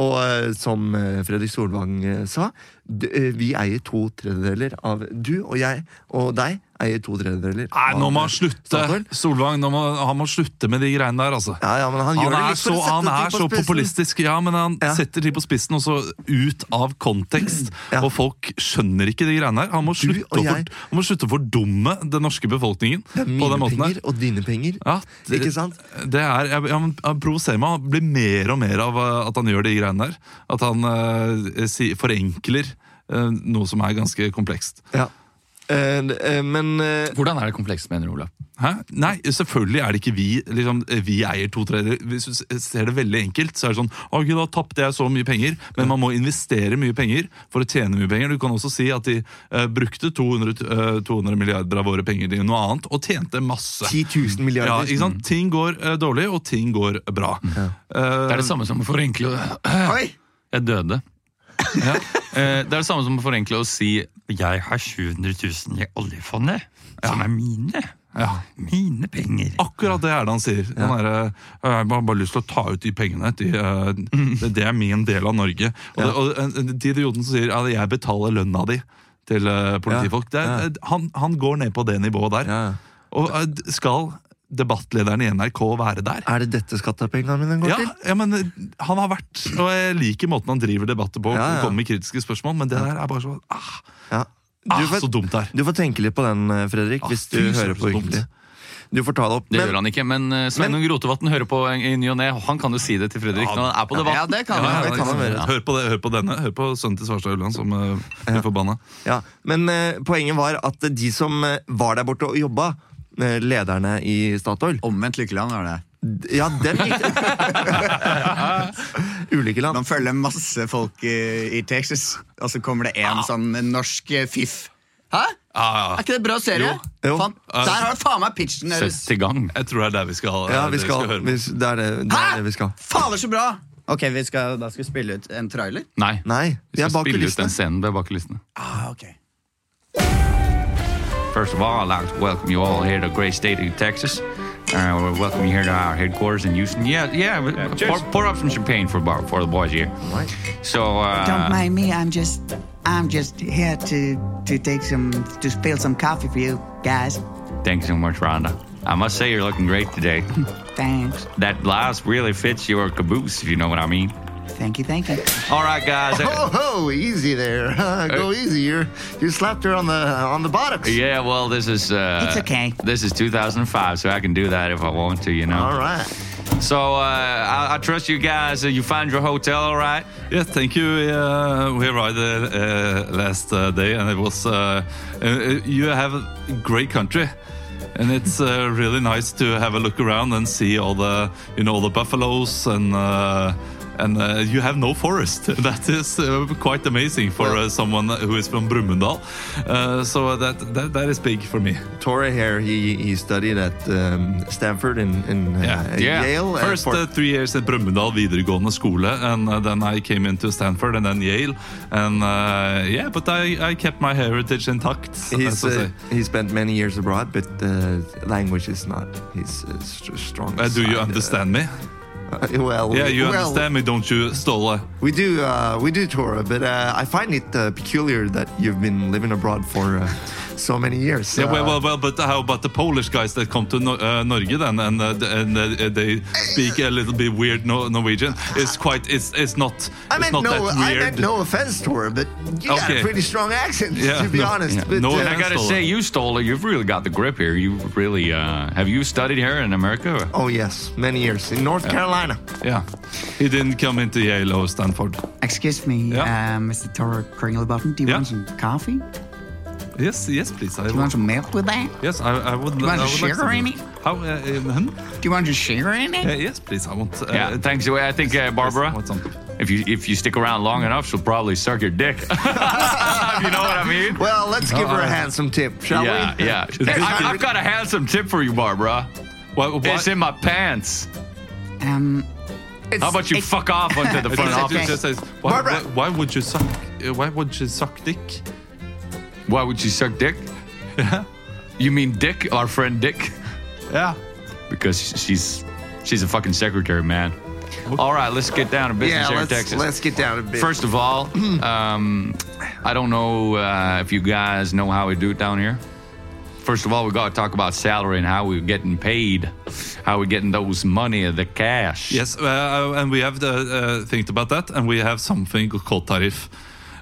Speaker 3: Og eh, som eh, Fredrik Solvang eh, sa, d- eh, vi eier to tredjedeler av Du og jeg og deg eier to tredjedeler.
Speaker 1: Nei, nå
Speaker 3: av,
Speaker 1: må
Speaker 3: eh,
Speaker 1: han slutte!
Speaker 3: Statoil.
Speaker 1: Solvang, nå må, han må slutte med de greiene der, altså.
Speaker 3: Ja, ja, men han,
Speaker 1: Han
Speaker 3: gjør det
Speaker 1: er
Speaker 3: litt
Speaker 1: så,
Speaker 3: for å sette
Speaker 1: han
Speaker 3: ting
Speaker 1: er
Speaker 3: på
Speaker 1: så
Speaker 3: spissen.
Speaker 1: populistisk, ja, men han
Speaker 3: Ja.
Speaker 1: setter ting på spissen og så ut av kontekst.
Speaker 3: (clears throat) Ja.
Speaker 1: Og folk skjønner ikke de greiene her. Han må slutte,
Speaker 3: og
Speaker 1: å,
Speaker 3: jeg-
Speaker 1: for, han må slutte å fordumme den norske befolkningen
Speaker 3: Det er
Speaker 1: på
Speaker 3: mine
Speaker 1: den måten
Speaker 3: penger
Speaker 1: her.
Speaker 3: og dine penger.
Speaker 1: Ja, det,
Speaker 3: Ikke sant?
Speaker 1: Det er, jeg, jeg, jeg provoserer meg. Han blir mer og mer av eh, at han gjør de greiene der. At han eh, si, forenkler eh, noe som er ganske komplekst.
Speaker 3: Ja. Eh, eh, men eh,
Speaker 2: Hvordan er det komplekst, mener du, Olav?
Speaker 1: Hæ? Nei, selvfølgelig er det ikke vi. Liksom, vi eier to tredjedeler. Hvis du s- ser det veldig enkelt, så er det sånn Ok, da tapte jeg så mye penger, men man må investere mye penger for å tjene mye penger. Du kan også si at de eh, brukte 200, t- eh, 200 milliarder av våre penger til noe annet, og tjente masse.
Speaker 3: 10 000
Speaker 1: Ja,
Speaker 3: milliarder.
Speaker 1: ikke sant? Ting går eh, dårlig, og ting går bra. Eh,
Speaker 2: Det er det samme som å (clears throat) forenkle
Speaker 4: Oi!
Speaker 2: Jeg døde. (laughs) Eh, Det er det samme som å forenkle å si Jeg har 700 000 i oljefondet, som er mine.
Speaker 1: ja.
Speaker 2: Mine penger.
Speaker 1: Akkurat det er det han sier. Han er, eh, jeg har bare lyst til å ta ut de pengene. De, eh, det, det er min del av Norge. Og, det, og eh, de idiotene som sier at jeg betaler lønna di til eh, politifolk, det er, eh, han, han går ned på det nivået der.
Speaker 3: Ja.
Speaker 1: Og eh, d- skal debattlederen i NRK være der?
Speaker 3: Er det dette skattepengene mine går
Speaker 1: Ja,
Speaker 3: til?
Speaker 1: ja, men eh, han har vært Og jeg liker måten han driver debatter på.
Speaker 3: Ja, ja.
Speaker 1: Og kommer med kritiske spørsmål Men det der er bare sånn ah,
Speaker 3: Ja.
Speaker 1: ah,
Speaker 3: Du får-
Speaker 1: Så dumt det er.
Speaker 3: Du får tenke litt på den, eh, Fredrik, hvis du
Speaker 1: fy søren,
Speaker 3: hører på
Speaker 1: så dumt.
Speaker 3: hyggelig. Du får ta det opp.
Speaker 2: Det
Speaker 3: men-
Speaker 2: gjør han ikke, men eh, Sveinung Rotevatn hører på i i ny og ne. Han kan jo si det til Fredrik når han er på
Speaker 4: Ja,
Speaker 2: debatt.
Speaker 4: det kan
Speaker 1: Ja,
Speaker 4: man.
Speaker 1: ja,
Speaker 3: det kan han
Speaker 1: liksom.
Speaker 3: gjøre.
Speaker 1: Hør på det, hør på denne. Hør på sønnen til Svarstad Ulland som eh, blir forbanna.
Speaker 3: Ja, Men eh, poenget var at de som eh, var der borte og jobba, eh, lederne i Statoil
Speaker 4: Omvendt lykkeland var det.
Speaker 3: d- Ja, dem gikk det. Ulike land.
Speaker 4: Man følger masse folk i, i Texas, og så kommer det en sånn norsk fiff. Hæ?
Speaker 1: Ah,
Speaker 4: Er ikke det bra serie?
Speaker 3: Jo.
Speaker 4: Faen, der har du faen meg pitchen deres!
Speaker 2: Sett i gang.
Speaker 1: Jeg tror det er der vi skal,
Speaker 3: Ja,
Speaker 1: det
Speaker 3: vi skal,
Speaker 1: høre
Speaker 3: vi,
Speaker 1: på.
Speaker 3: det er det, det
Speaker 4: Hæ?
Speaker 3: er det vi skal.
Speaker 4: Ah, Fader, så bra! Ok, vi skal, Da skal vi spille ut en trailer?
Speaker 2: Nei.
Speaker 3: Nei, vi
Speaker 2: Vi
Speaker 3: er
Speaker 2: skal
Speaker 3: bak
Speaker 2: spille ut den
Speaker 3: kulissene.
Speaker 2: scenen ved bak kulissene.
Speaker 4: Ah, ok.
Speaker 2: First of all, I'd like to welcome you all here to the great state of Texas. Uh, we welcome you here to our headquarters in Houston. Yeah, yeah. pour, pour up some champagne for bar, for the boys here. So, uh,
Speaker 10: Don't mind me. I'm just, I'm just here to to take some to spill some coffee for you guys.
Speaker 2: thanks so much, Rhonda. I must say you're looking great
Speaker 10: (laughs)
Speaker 2: today.
Speaker 10: Thanks.
Speaker 2: that blouse really fits your caboose, if you know what I mean.
Speaker 10: Thank you. Thank you.
Speaker 2: All right,
Speaker 10: (laughs)
Speaker 2: guys.
Speaker 3: Oh, oh, easy there. (laughs) Go easy. You're, you slapped her on the on the buttocks.
Speaker 2: yeah, well, this is. Uh,
Speaker 10: It's okay.
Speaker 2: This is 2005, so I can do that if I want to, you know.
Speaker 3: All right.
Speaker 2: So uh, I, I trust you guys. Uh, you find your hotel, all right?
Speaker 1: Yes, thank you. We, uh, we arrived uh, uh, last uh, day, and it was. Uh, uh, you have a great country, and it's uh, really nice to have a look around and see all the, you know, all the buffaloes and. Uh, And uh, you have no forest. (laughs) That is uh, quite amazing for uh, someone who is from Brumunddal. Uh, so that, that that is big for me.
Speaker 3: Torre here, he, he studied at um, Stanford in, in uh,
Speaker 1: Yeah.
Speaker 2: Yeah.
Speaker 3: Yale. and
Speaker 1: First
Speaker 3: for-
Speaker 1: uh, three years at Brumunddal videregående skole, and uh, then I came into Stanford and then Yale. And uh, yeah, but I, I kept my heritage intact.
Speaker 3: (laughs) he's,
Speaker 1: as I
Speaker 3: uh,
Speaker 1: say.
Speaker 3: he spent many years abroad, but uh, language is not his uh, st- strong
Speaker 1: Uh, do you
Speaker 3: side.
Speaker 1: understand me?
Speaker 3: Uh, well,
Speaker 1: Yeah, you
Speaker 3: well,
Speaker 1: understand me, don't you, Ståle?
Speaker 3: We do, uh, we do, Torre, but uh, I find it uh, peculiar that you've been living abroad for uh, so many years.
Speaker 1: Yeah,
Speaker 3: Uh,
Speaker 1: well, well, well, but how about the Polish guys that come to Nor- uh, Norge then, and uh, th- and uh, they speak a little bit weird Nor- Norwegian? It's quite, it's it's not,
Speaker 3: I
Speaker 1: it's
Speaker 3: meant,
Speaker 1: not
Speaker 3: no,
Speaker 1: that
Speaker 3: I
Speaker 1: weird.
Speaker 3: meant no offense, Torre, but you got a
Speaker 1: Okay.
Speaker 3: pretty strong accent,
Speaker 1: Yeah,
Speaker 3: to be
Speaker 1: no,
Speaker 3: honest.
Speaker 1: yeah,
Speaker 3: But,
Speaker 1: no
Speaker 3: uh,
Speaker 1: offense.
Speaker 2: I gotta
Speaker 1: Stoller.
Speaker 2: say, you stole it. You've really got the grip here. You really uh, have you studied here in America? Or?
Speaker 3: Oh, yes, many years in North Carolina.
Speaker 1: Yeah, he didn't come into Yale or Stanford.
Speaker 10: Excuse me,
Speaker 1: Yeah.
Speaker 10: uh, Mr. Toro Kringlebottom, do you
Speaker 1: Yeah.
Speaker 10: want some coffee? Do
Speaker 1: Yes, yes, please. I
Speaker 10: you want some milk with that?
Speaker 1: yes, I, I would.
Speaker 10: want
Speaker 1: I
Speaker 10: to
Speaker 1: would
Speaker 10: share
Speaker 1: some-
Speaker 10: any?
Speaker 1: How? Uh, um, hmm?
Speaker 10: Do you want to share in
Speaker 1: Uh,
Speaker 10: it?
Speaker 1: yes, please. I want. Uh,
Speaker 2: Yeah, thanks. I think uh, Barbara,
Speaker 1: What's on?
Speaker 2: if you if you stick around long enough, she'll probably suck your dick. (laughs) you know what I mean?
Speaker 3: Well, let's give her a
Speaker 1: Uh,
Speaker 3: handsome tip, shall
Speaker 2: yeah,
Speaker 3: we?
Speaker 2: yeah. Hey, I, I've got a handsome tip for you, Barbara.
Speaker 1: Why- why-
Speaker 2: It's in my pants.
Speaker 10: Um,
Speaker 2: How about you fuck off onto
Speaker 1: (laughs)
Speaker 2: the front
Speaker 1: Just-
Speaker 2: office?
Speaker 1: just says, why,
Speaker 3: Barbara.
Speaker 1: why, why would you suck? uh, Why would you suck dick?
Speaker 2: Why would you suck
Speaker 1: (laughs)
Speaker 2: dick? you mean Dick, our friend Dick?
Speaker 1: Yeah.
Speaker 2: Because she's she's a fucking secretary, man. All right, let's get down to
Speaker 3: (laughs) Yeah,
Speaker 2: business here in
Speaker 3: let's,
Speaker 2: Texas.
Speaker 3: let's get down a bit.
Speaker 2: First of
Speaker 3: (clears throat)
Speaker 2: all, um, I don't know uh, if you guys know how we do it down here. First of all, we got to talk about salary and how we're getting paid, how we're getting those money, the cash.
Speaker 1: Yes, uh, and we have the, uh, think about that, and we have something called tariff.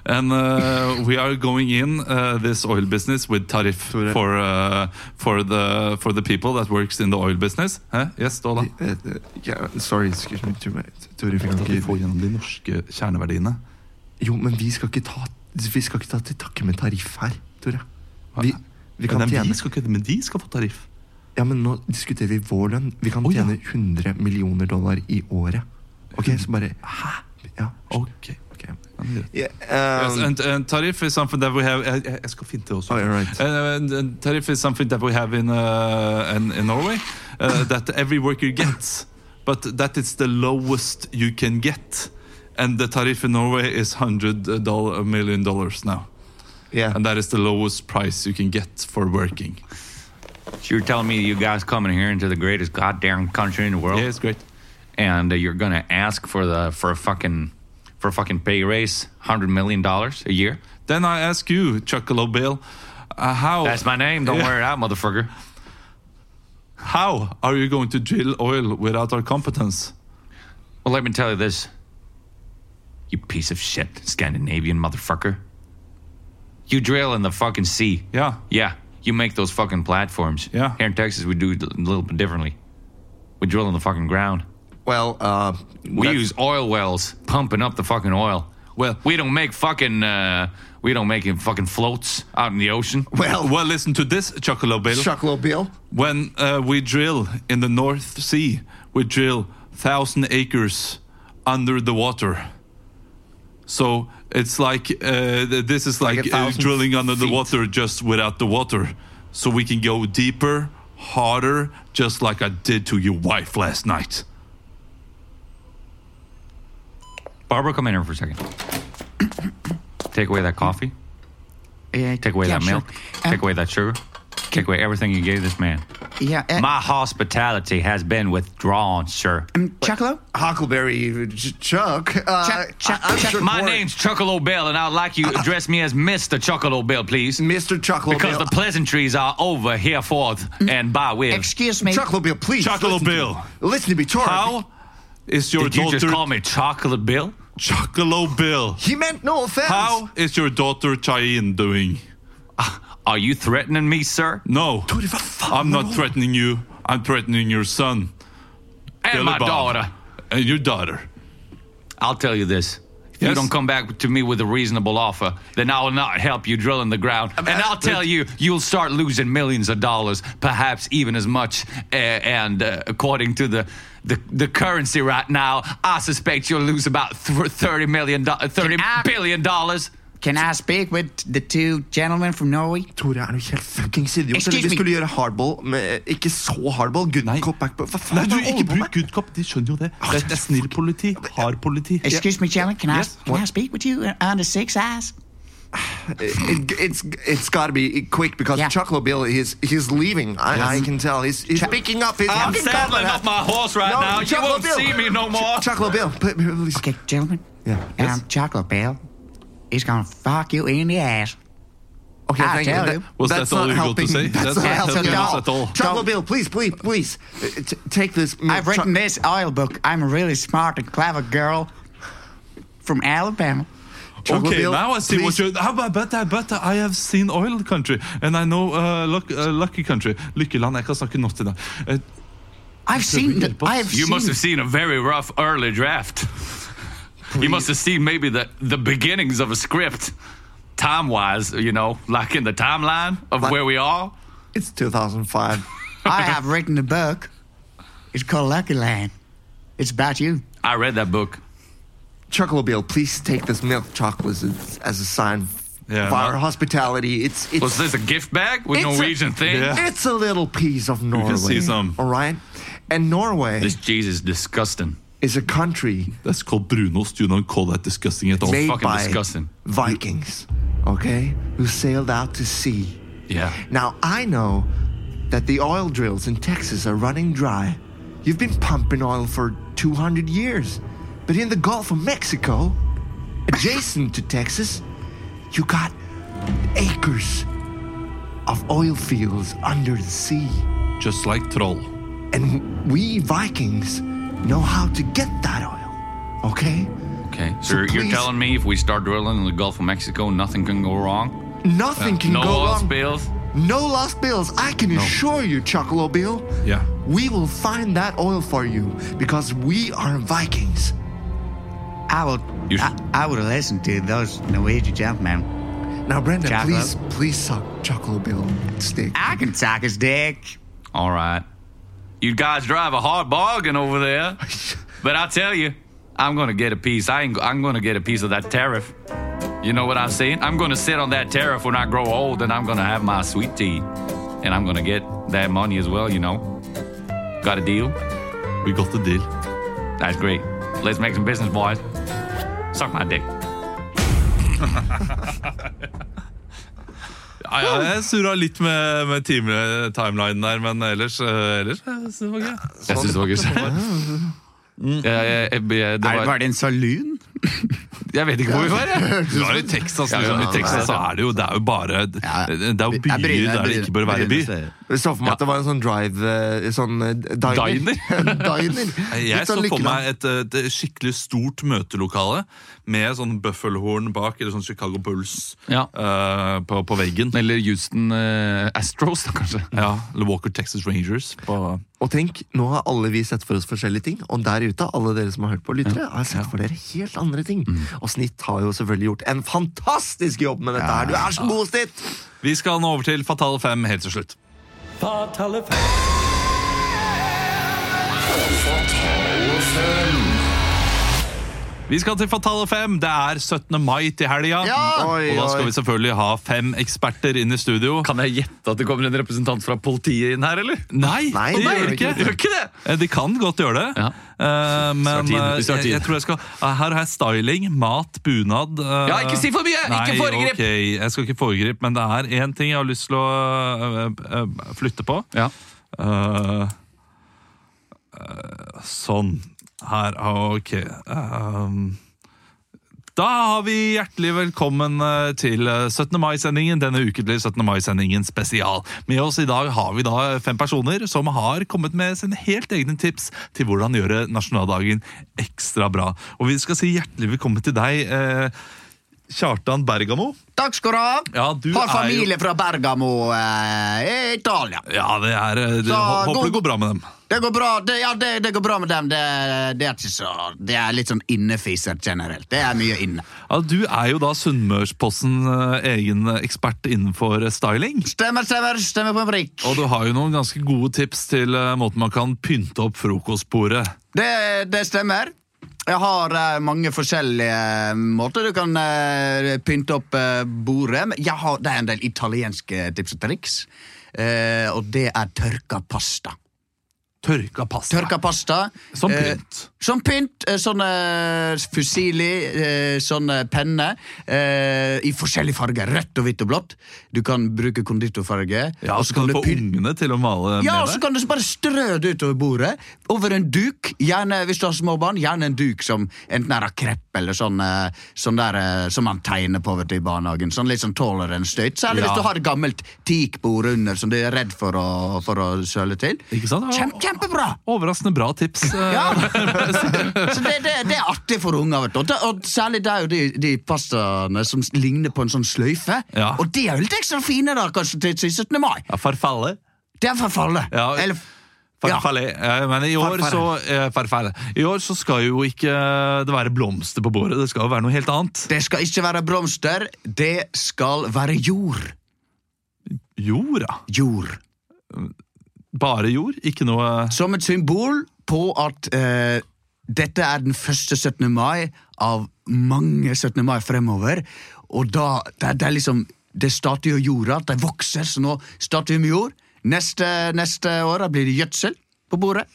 Speaker 1: And uh, (laughs) we are going in uh, this oil business with tariff for uh, for the for the people that works in the oil business. Huh? Yes, Ståle?
Speaker 3: Eh, eh, ja, sorry, excuse me, Tore. Tore, vi kan
Speaker 1: At vi
Speaker 3: ikke
Speaker 1: får gjennom de norske kjerneverdiene.
Speaker 3: Jo, men vi skal ikke ta, vi skal ikke ta til takke med tariff her, Tore. Vi, vi kan
Speaker 1: Men de
Speaker 3: tjene
Speaker 1: skal, ikke- men de skal få tariff.
Speaker 3: Ja, men nå diskuterer vi vår lønn. Vi kan
Speaker 1: Å, ja.
Speaker 3: tjene 100 millioner dollar i året. Ok, så bare Hæ? Ja.
Speaker 1: Ok.
Speaker 3: ok. um,
Speaker 1: Yes,
Speaker 2: uh,
Speaker 1: and, and tariff is something that we have eh, Jeg, jeg- jeg skal finne det også.
Speaker 3: Oh, yeah, right.
Speaker 1: Uh, and- and tariff is something that we have in, uh, in, in Norway uh, that every worker gets, but that is the lowest you can get. And the tariff in Norway is hundred eh, million dollars now,
Speaker 3: Yeah.
Speaker 1: and that is the lowest price you can get for working.
Speaker 2: You're telling me you guys coming here into the greatest goddamn country in the world,
Speaker 1: Yeah, it's great.
Speaker 2: and uh, you're gonna ask for the for a fucking for a fucking pay raise, hundred million dollars a year.
Speaker 1: Then I ask you, Chuckalo Bill, uh,
Speaker 3: Oh.
Speaker 1: how
Speaker 2: That's my name. Don't
Speaker 1: Yeah.
Speaker 2: worry it out, motherfucker.
Speaker 1: how are you going to drill oil without our competence?
Speaker 2: Well, let me tell you this. You piece of shit, Scandinavian motherfucker. You drill in the fucking sea.
Speaker 1: Yeah.
Speaker 2: Yeah. You make those fucking platforms.
Speaker 1: Yeah.
Speaker 2: Here in Texas, we do it a little bit differently. We drill in the fucking ground.
Speaker 3: Well, uh,
Speaker 2: We
Speaker 3: that's-
Speaker 2: use oil wells, pumping up the fucking oil.
Speaker 1: Well-
Speaker 2: we don't make fucking uh, we don't make fucking floats out in the ocean.
Speaker 3: Well,
Speaker 1: Well, listen to this, Chuckalo Bill.
Speaker 3: Chucklow Bill.
Speaker 1: When uh, we drill in the North Sea, we drill thousand acres under the water. So it's like uh, th- this is like,
Speaker 3: a
Speaker 1: uh,
Speaker 3: thousand
Speaker 1: drilling under the
Speaker 3: feet.
Speaker 1: water just without the water. So we can go deeper, harder, just like I did to your wife last night.
Speaker 2: Barbara, come in here for a second. Take away that coffee.
Speaker 10: yeah,
Speaker 2: Take away
Speaker 10: yeah,
Speaker 2: that
Speaker 10: sure.
Speaker 2: milk.
Speaker 10: Um,
Speaker 2: Take away that sugar. Take away everything you gave this man.
Speaker 10: Yeah, uh,
Speaker 2: My hospitality has been withdrawn, sir.
Speaker 4: Mm,
Speaker 10: um, Chuckalo?
Speaker 3: Huckleberry Ch- Chuck. Uh,
Speaker 10: Chuck- Chuck-
Speaker 3: I- I'm
Speaker 10: Chuck-
Speaker 3: sure
Speaker 2: My
Speaker 3: Torre-
Speaker 2: name's Chuckalo Bell, and I'd like you to address me as Mr. Chuckalo Bell, please.
Speaker 3: Mr. Chucklow
Speaker 2: Because
Speaker 3: Bill.
Speaker 2: the pleasantries are over hereforth and by with.
Speaker 10: Excuse me.
Speaker 3: Chucklow Bill, please.
Speaker 1: Chuckalo
Speaker 3: listen to
Speaker 1: Bill,
Speaker 3: me. Listen to me, Torre.
Speaker 1: how is your
Speaker 2: Did you just
Speaker 1: daughter
Speaker 2: call me Chocolate Bill?
Speaker 1: Chuckalo Bill?
Speaker 3: He meant no offense.
Speaker 1: How is your daughter Chayin doing?
Speaker 2: Are you threatening me, sir?
Speaker 1: No.
Speaker 3: Torre, hva faen?
Speaker 1: I'm not threatening you. I'm threatening your son,
Speaker 2: And my
Speaker 1: Billy Bob.
Speaker 2: daughter.
Speaker 1: and Uh, your daughter.
Speaker 2: I'll tell you this. If You
Speaker 1: Yes.
Speaker 2: don't come back to me with a reasonable offer, then I will not help you drill in the ground. and I'll tell you, you'll start losing millions of dollars, perhaps even as much. Uh, and uh, according to the, the the currency right now, I suspect you'll lose about th- thirty million, do- thirty
Speaker 10: I-
Speaker 2: billion dollars.
Speaker 10: Can I speak with the two gentlemen from Norway?
Speaker 3: Tore er du helt fuckings idiot.
Speaker 10: Excuse
Speaker 3: Eller vi
Speaker 10: me.
Speaker 3: skulle gjøre hardball, men eh, ikke så hardball. Good
Speaker 1: Nei.
Speaker 3: cop, back cop. Hva faen
Speaker 1: Nei, du,
Speaker 3: er det du
Speaker 1: ikke
Speaker 3: holder på
Speaker 1: bruk
Speaker 3: med?
Speaker 1: good cop. De skjønner jo det. Det er snill politi. Hard politi.
Speaker 10: Excuse me, gentlemen. Can I
Speaker 1: Yes.
Speaker 10: can I speak with you uh, under six eyes?
Speaker 3: It, it's, it's gotta be quick, because
Speaker 10: Yeah.
Speaker 3: Chocolate Bill, he's, he's leaving. I, I can tell. He's, he's picking up his
Speaker 2: I'm
Speaker 3: fucking
Speaker 2: saddling
Speaker 3: cowboy
Speaker 2: up
Speaker 3: hat.
Speaker 2: my horse right
Speaker 3: No,
Speaker 2: now. You
Speaker 3: Chocolate
Speaker 2: won't
Speaker 3: Bill.
Speaker 2: see me no more.
Speaker 3: Ch- Chocolate Bill, pl- pl- please.
Speaker 10: Okay, gentlemen. Um,
Speaker 3: Yeah.
Speaker 10: Now,
Speaker 3: Yes.
Speaker 10: Chocolate Bell is gonna fuck you in the ass.
Speaker 3: Okay,
Speaker 10: I
Speaker 3: thank you.
Speaker 10: tell
Speaker 3: That-
Speaker 10: you.
Speaker 1: Ah, Was
Speaker 3: that's
Speaker 1: that all
Speaker 3: not
Speaker 1: you got to
Speaker 3: helping.
Speaker 1: say?
Speaker 3: That's,
Speaker 1: That's
Speaker 3: not
Speaker 10: not
Speaker 3: helping
Speaker 10: helping
Speaker 3: at all.
Speaker 10: us at
Speaker 1: all.
Speaker 3: Chocolate Bill, please, please, please, uh, t- take this. mm,
Speaker 10: I've written
Speaker 3: cho-
Speaker 10: this oil book. I'm a really smart and clever girl from Alabama.
Speaker 3: Chocolate
Speaker 1: Okay,
Speaker 3: Bill,
Speaker 1: now I see
Speaker 3: please.
Speaker 1: what you. How about but, I- but uh, I have seen oil country, and I know uh, luck, uh, lucky country. Lykkeland. Jeg kan snakke norsk til deg. Eh,
Speaker 10: I've seen.
Speaker 1: really
Speaker 10: The,
Speaker 1: help us.
Speaker 10: I've
Speaker 2: You
Speaker 10: seen.
Speaker 2: must have seen a very rough early draft. You must have seen maybe the, the beginnings of a script, time wise, you know, like in the timeline of
Speaker 3: Like-
Speaker 2: where we are.
Speaker 3: It's 2005.
Speaker 10: I have written a book. It's called Lucky Land. It's about you.
Speaker 2: I read that book.
Speaker 3: Chocolate Bill, please take this milk chocolate as, as a sign
Speaker 1: Yeah.
Speaker 3: of our hospitality. It's it's
Speaker 2: Was this a gift bag with
Speaker 3: It's a-
Speaker 2: Norwegian thing?
Speaker 1: Yeah.
Speaker 3: it's a little piece of Norway.
Speaker 1: see some.
Speaker 3: All right, and Norway
Speaker 2: This cheese is disgusting.
Speaker 3: is a country
Speaker 1: That's called brunost. You don't call that disgusting at all.
Speaker 3: made
Speaker 2: fucking
Speaker 3: by
Speaker 2: disgusting.
Speaker 3: Vikings. Okay, who sailed out to sea.
Speaker 2: Yeah.
Speaker 3: Now I know that the oil drills in Texas are running dry. You've been pumping oil for 200 years, but in the Gulf of Mexico, adjacent to Texas, you got acres of oil fields under the sea.
Speaker 1: Just like troll.
Speaker 3: And we Vikings know how to get that oil, okay?
Speaker 2: Okay. So,
Speaker 3: So
Speaker 2: you're, you're
Speaker 3: please-
Speaker 2: telling me if we start drilling in the Gulf of Mexico, nothing can go wrong?
Speaker 3: Nothing can
Speaker 2: no
Speaker 3: go
Speaker 2: oil
Speaker 3: wrong.
Speaker 2: spills?
Speaker 3: No lost bills. I can assure you, Chocolate Bill.
Speaker 1: Yeah.
Speaker 3: We will find that oil for you because we are Vikings.
Speaker 10: I will.
Speaker 2: You sh-
Speaker 10: I, I would listen to those Norwegian gentlemen.
Speaker 3: Now, Brenda,
Speaker 10: Chocolate.
Speaker 3: please, please suck Chocolate Bill stick.
Speaker 1: Ah.
Speaker 10: I can suck his dick.
Speaker 2: All right. You guys drive a hard bargain over (laughs) there. But I tell you, I'm gonna get a piece. I ain't, I'm gonna get a piece of that tariff. You know what I'm saying? I'm gonna sit on that tariff when I grow old, and I'm gonna have my sweet tea, and I'm gonna get that money as well. You know, got a deal?
Speaker 1: We got the deal.
Speaker 2: That's great. Let's make some business, boys. Suck my dick.
Speaker 1: Ja, ja, jeg surra litt med, med time, timelinen der, men ellers, eh, ellers eh, så var det gøy.
Speaker 2: Jeg syns det var (laughs) gøy. Jeg, jeg, jeg, det
Speaker 4: Er,
Speaker 2: var,
Speaker 4: var det en saloon?
Speaker 2: jeg vet ikke hvor vi var. (laughs) jeg.
Speaker 1: Du er jo i Texas,
Speaker 2: Ja, ja,
Speaker 1: liksom. I
Speaker 2: ja,
Speaker 1: Texas
Speaker 2: ja.
Speaker 1: så er det jo, det er jo bare Det er jo
Speaker 4: Jeg
Speaker 1: byer
Speaker 4: bryr-
Speaker 1: der det ikke bør være by.
Speaker 4: bryr meg ikke.
Speaker 3: Jeg så for meg at det var en sånn drive eh, Sånn eh, diner. (laughs)
Speaker 1: Jeg
Speaker 3: diner. Litt
Speaker 1: så
Speaker 3: sånn
Speaker 1: for
Speaker 3: lykkeland.
Speaker 1: meg et, eh, et skikkelig stort møtelokale med sånn bøffelhorn bak, eller sånn Chicago Bulls
Speaker 2: Ja.
Speaker 1: eh, på, på veggen.
Speaker 2: Eller Houston eh, Astros, da, kanskje.
Speaker 1: Ja, eller Walker Texas Rangers. På,
Speaker 3: Og tenk, nå har alle vi sett for oss forskjellige ting, og der ute, alle dere som har hørt på lyttere, har sett for dere helt andre ting.
Speaker 1: Mm.
Speaker 3: Og Snitt har jo selvfølgelig gjort en fantastisk jobb med dette her. Du er så god, Snitt!
Speaker 1: vi skal nå over til Fatale 5 helt til slutt.
Speaker 8: Fatale feil.
Speaker 1: Vi skal til Fatale 5. Det er 17. mai til helga.
Speaker 3: Oi,
Speaker 1: Og da skal
Speaker 3: oi.
Speaker 1: vi selvfølgelig ha fem eksperter inn i studio.
Speaker 2: Kan jeg gjette at det kommer en representant fra politiet inn her, eller?
Speaker 1: Nei,
Speaker 3: Nei,
Speaker 1: de
Speaker 3: det
Speaker 1: gjør
Speaker 3: gjør
Speaker 1: ikke.
Speaker 3: ikke
Speaker 1: De, gjør ikke det. Eh, de kan godt gjøre det.
Speaker 2: Ja.
Speaker 1: Eh, men
Speaker 2: Snart tid,
Speaker 1: eh,
Speaker 2: snart
Speaker 1: jeg,
Speaker 2: tid.
Speaker 1: jeg tror jeg skal eh, Her har jeg styling, mat, bunad eh,
Speaker 2: Ja, ikke si for mye! Ikke
Speaker 1: nei,
Speaker 2: foregrip!
Speaker 1: ok, jeg skal ikke foregripe, men det er én ting jeg har lyst til å eh, eh, flytte på.
Speaker 2: Ja.
Speaker 1: Eh, eh, sånn. Her, ah, ok. Ehm, da har vi hjertelig velkommen eh, til eh, 17. mai-sendingen. Denne ukentlige 17. mai-sendingen spesial. Med oss i dag har vi da eh, fem personer som har kommet med sine helt egne tips til hvordan gjøre nasjonaldagen ekstra bra. Og vi skal si hjertelig velkommen til deg, eh, Kjartan Bergamo.
Speaker 10: Takk skal du ha.
Speaker 1: Ja, du
Speaker 10: har
Speaker 1: er jo-
Speaker 10: familie fra Bergamo, eh, Italia.
Speaker 1: Ja, det er eh, det,
Speaker 10: Så
Speaker 1: hå- Håper
Speaker 10: god-
Speaker 1: det går bra med dem.
Speaker 4: Det går bra, det, ja, det, det går bra med dem. Det, det er ikke så Det er litt sånn innefiser generelt. Det er mye inne.
Speaker 1: Ja, du er jo da Sunnmørsposten eh, egen ekspert innenfor eh, styling.
Speaker 4: Stemmer, stemmer, stemmer på en prikk.
Speaker 1: Og du har jo noen ganske gode tips til eh, måten man kan pynte opp frokostbordet.
Speaker 4: Det, det stemmer. Jeg har eh, mange forskjellige eh, måter du kan eh, pynte opp eh, bordet Men Jeg har, Det er en del italienske tips og triks. Eh, og det er tørka pasta.
Speaker 1: Tørka pasta.
Speaker 4: Tørka pasta.
Speaker 1: Som
Speaker 4: eh,
Speaker 1: pynt.
Speaker 4: som pynt. eh, Sånne fusili, eh, sånne penner. eh, I forskjellige farger. Rødt og hvitt og blått. Du kan bruke konditorfarge.
Speaker 1: Ja,
Speaker 4: og
Speaker 1: og så kan du få
Speaker 4: pyn-
Speaker 1: ungene til å male
Speaker 4: ja, og
Speaker 1: med
Speaker 4: så
Speaker 1: det.
Speaker 4: kan du så bare strø det utover bordet. Over en duk, gjerne hvis du har små barn. Gjerne en duk som enten er av krepp eller sånn, eh, sånn der, eh, som man tegner på vet du, i barnehagen. Sånn litt sånn tåler en støyt. Særlig
Speaker 1: Ja.
Speaker 4: hvis du har et gammelt teakbord under som du er redd for å, for å søle til.
Speaker 1: Ikke sant? Ja.
Speaker 4: Kjempe, kjempebra!
Speaker 1: Overraskende bra tips. eh,
Speaker 4: Ja. Så det, det, det er artig for unger. vet du. Og, det- og særlig det er jo de, de pastaene som ligner på en sånn sløyfe.
Speaker 1: Ja.
Speaker 4: Og de er jo litt ekstra fine da, kanskje til til 17. mai.
Speaker 1: Ja, farfalle.
Speaker 4: Det er forfallet.
Speaker 1: Ja.
Speaker 4: Eller,
Speaker 1: Farfalle. Eh, Men i år, så, eh, farfalle. I år så skal jo ikke eh, det være blomster på bordet, det skal jo være noe helt annet.
Speaker 4: det skal ikke være blomster, det skal være jord.
Speaker 1: Jorda.
Speaker 4: Jord.
Speaker 1: Bare jord, ikke noe
Speaker 4: Som et symbol på at eh, dette er den første 17. mai av mange 17. mai fremover. Og da, det, er- det er liksom Det starter jo jorda, det vokser, så nå starter vi med jord. Neste, neste år da blir det gjødsel på bordet.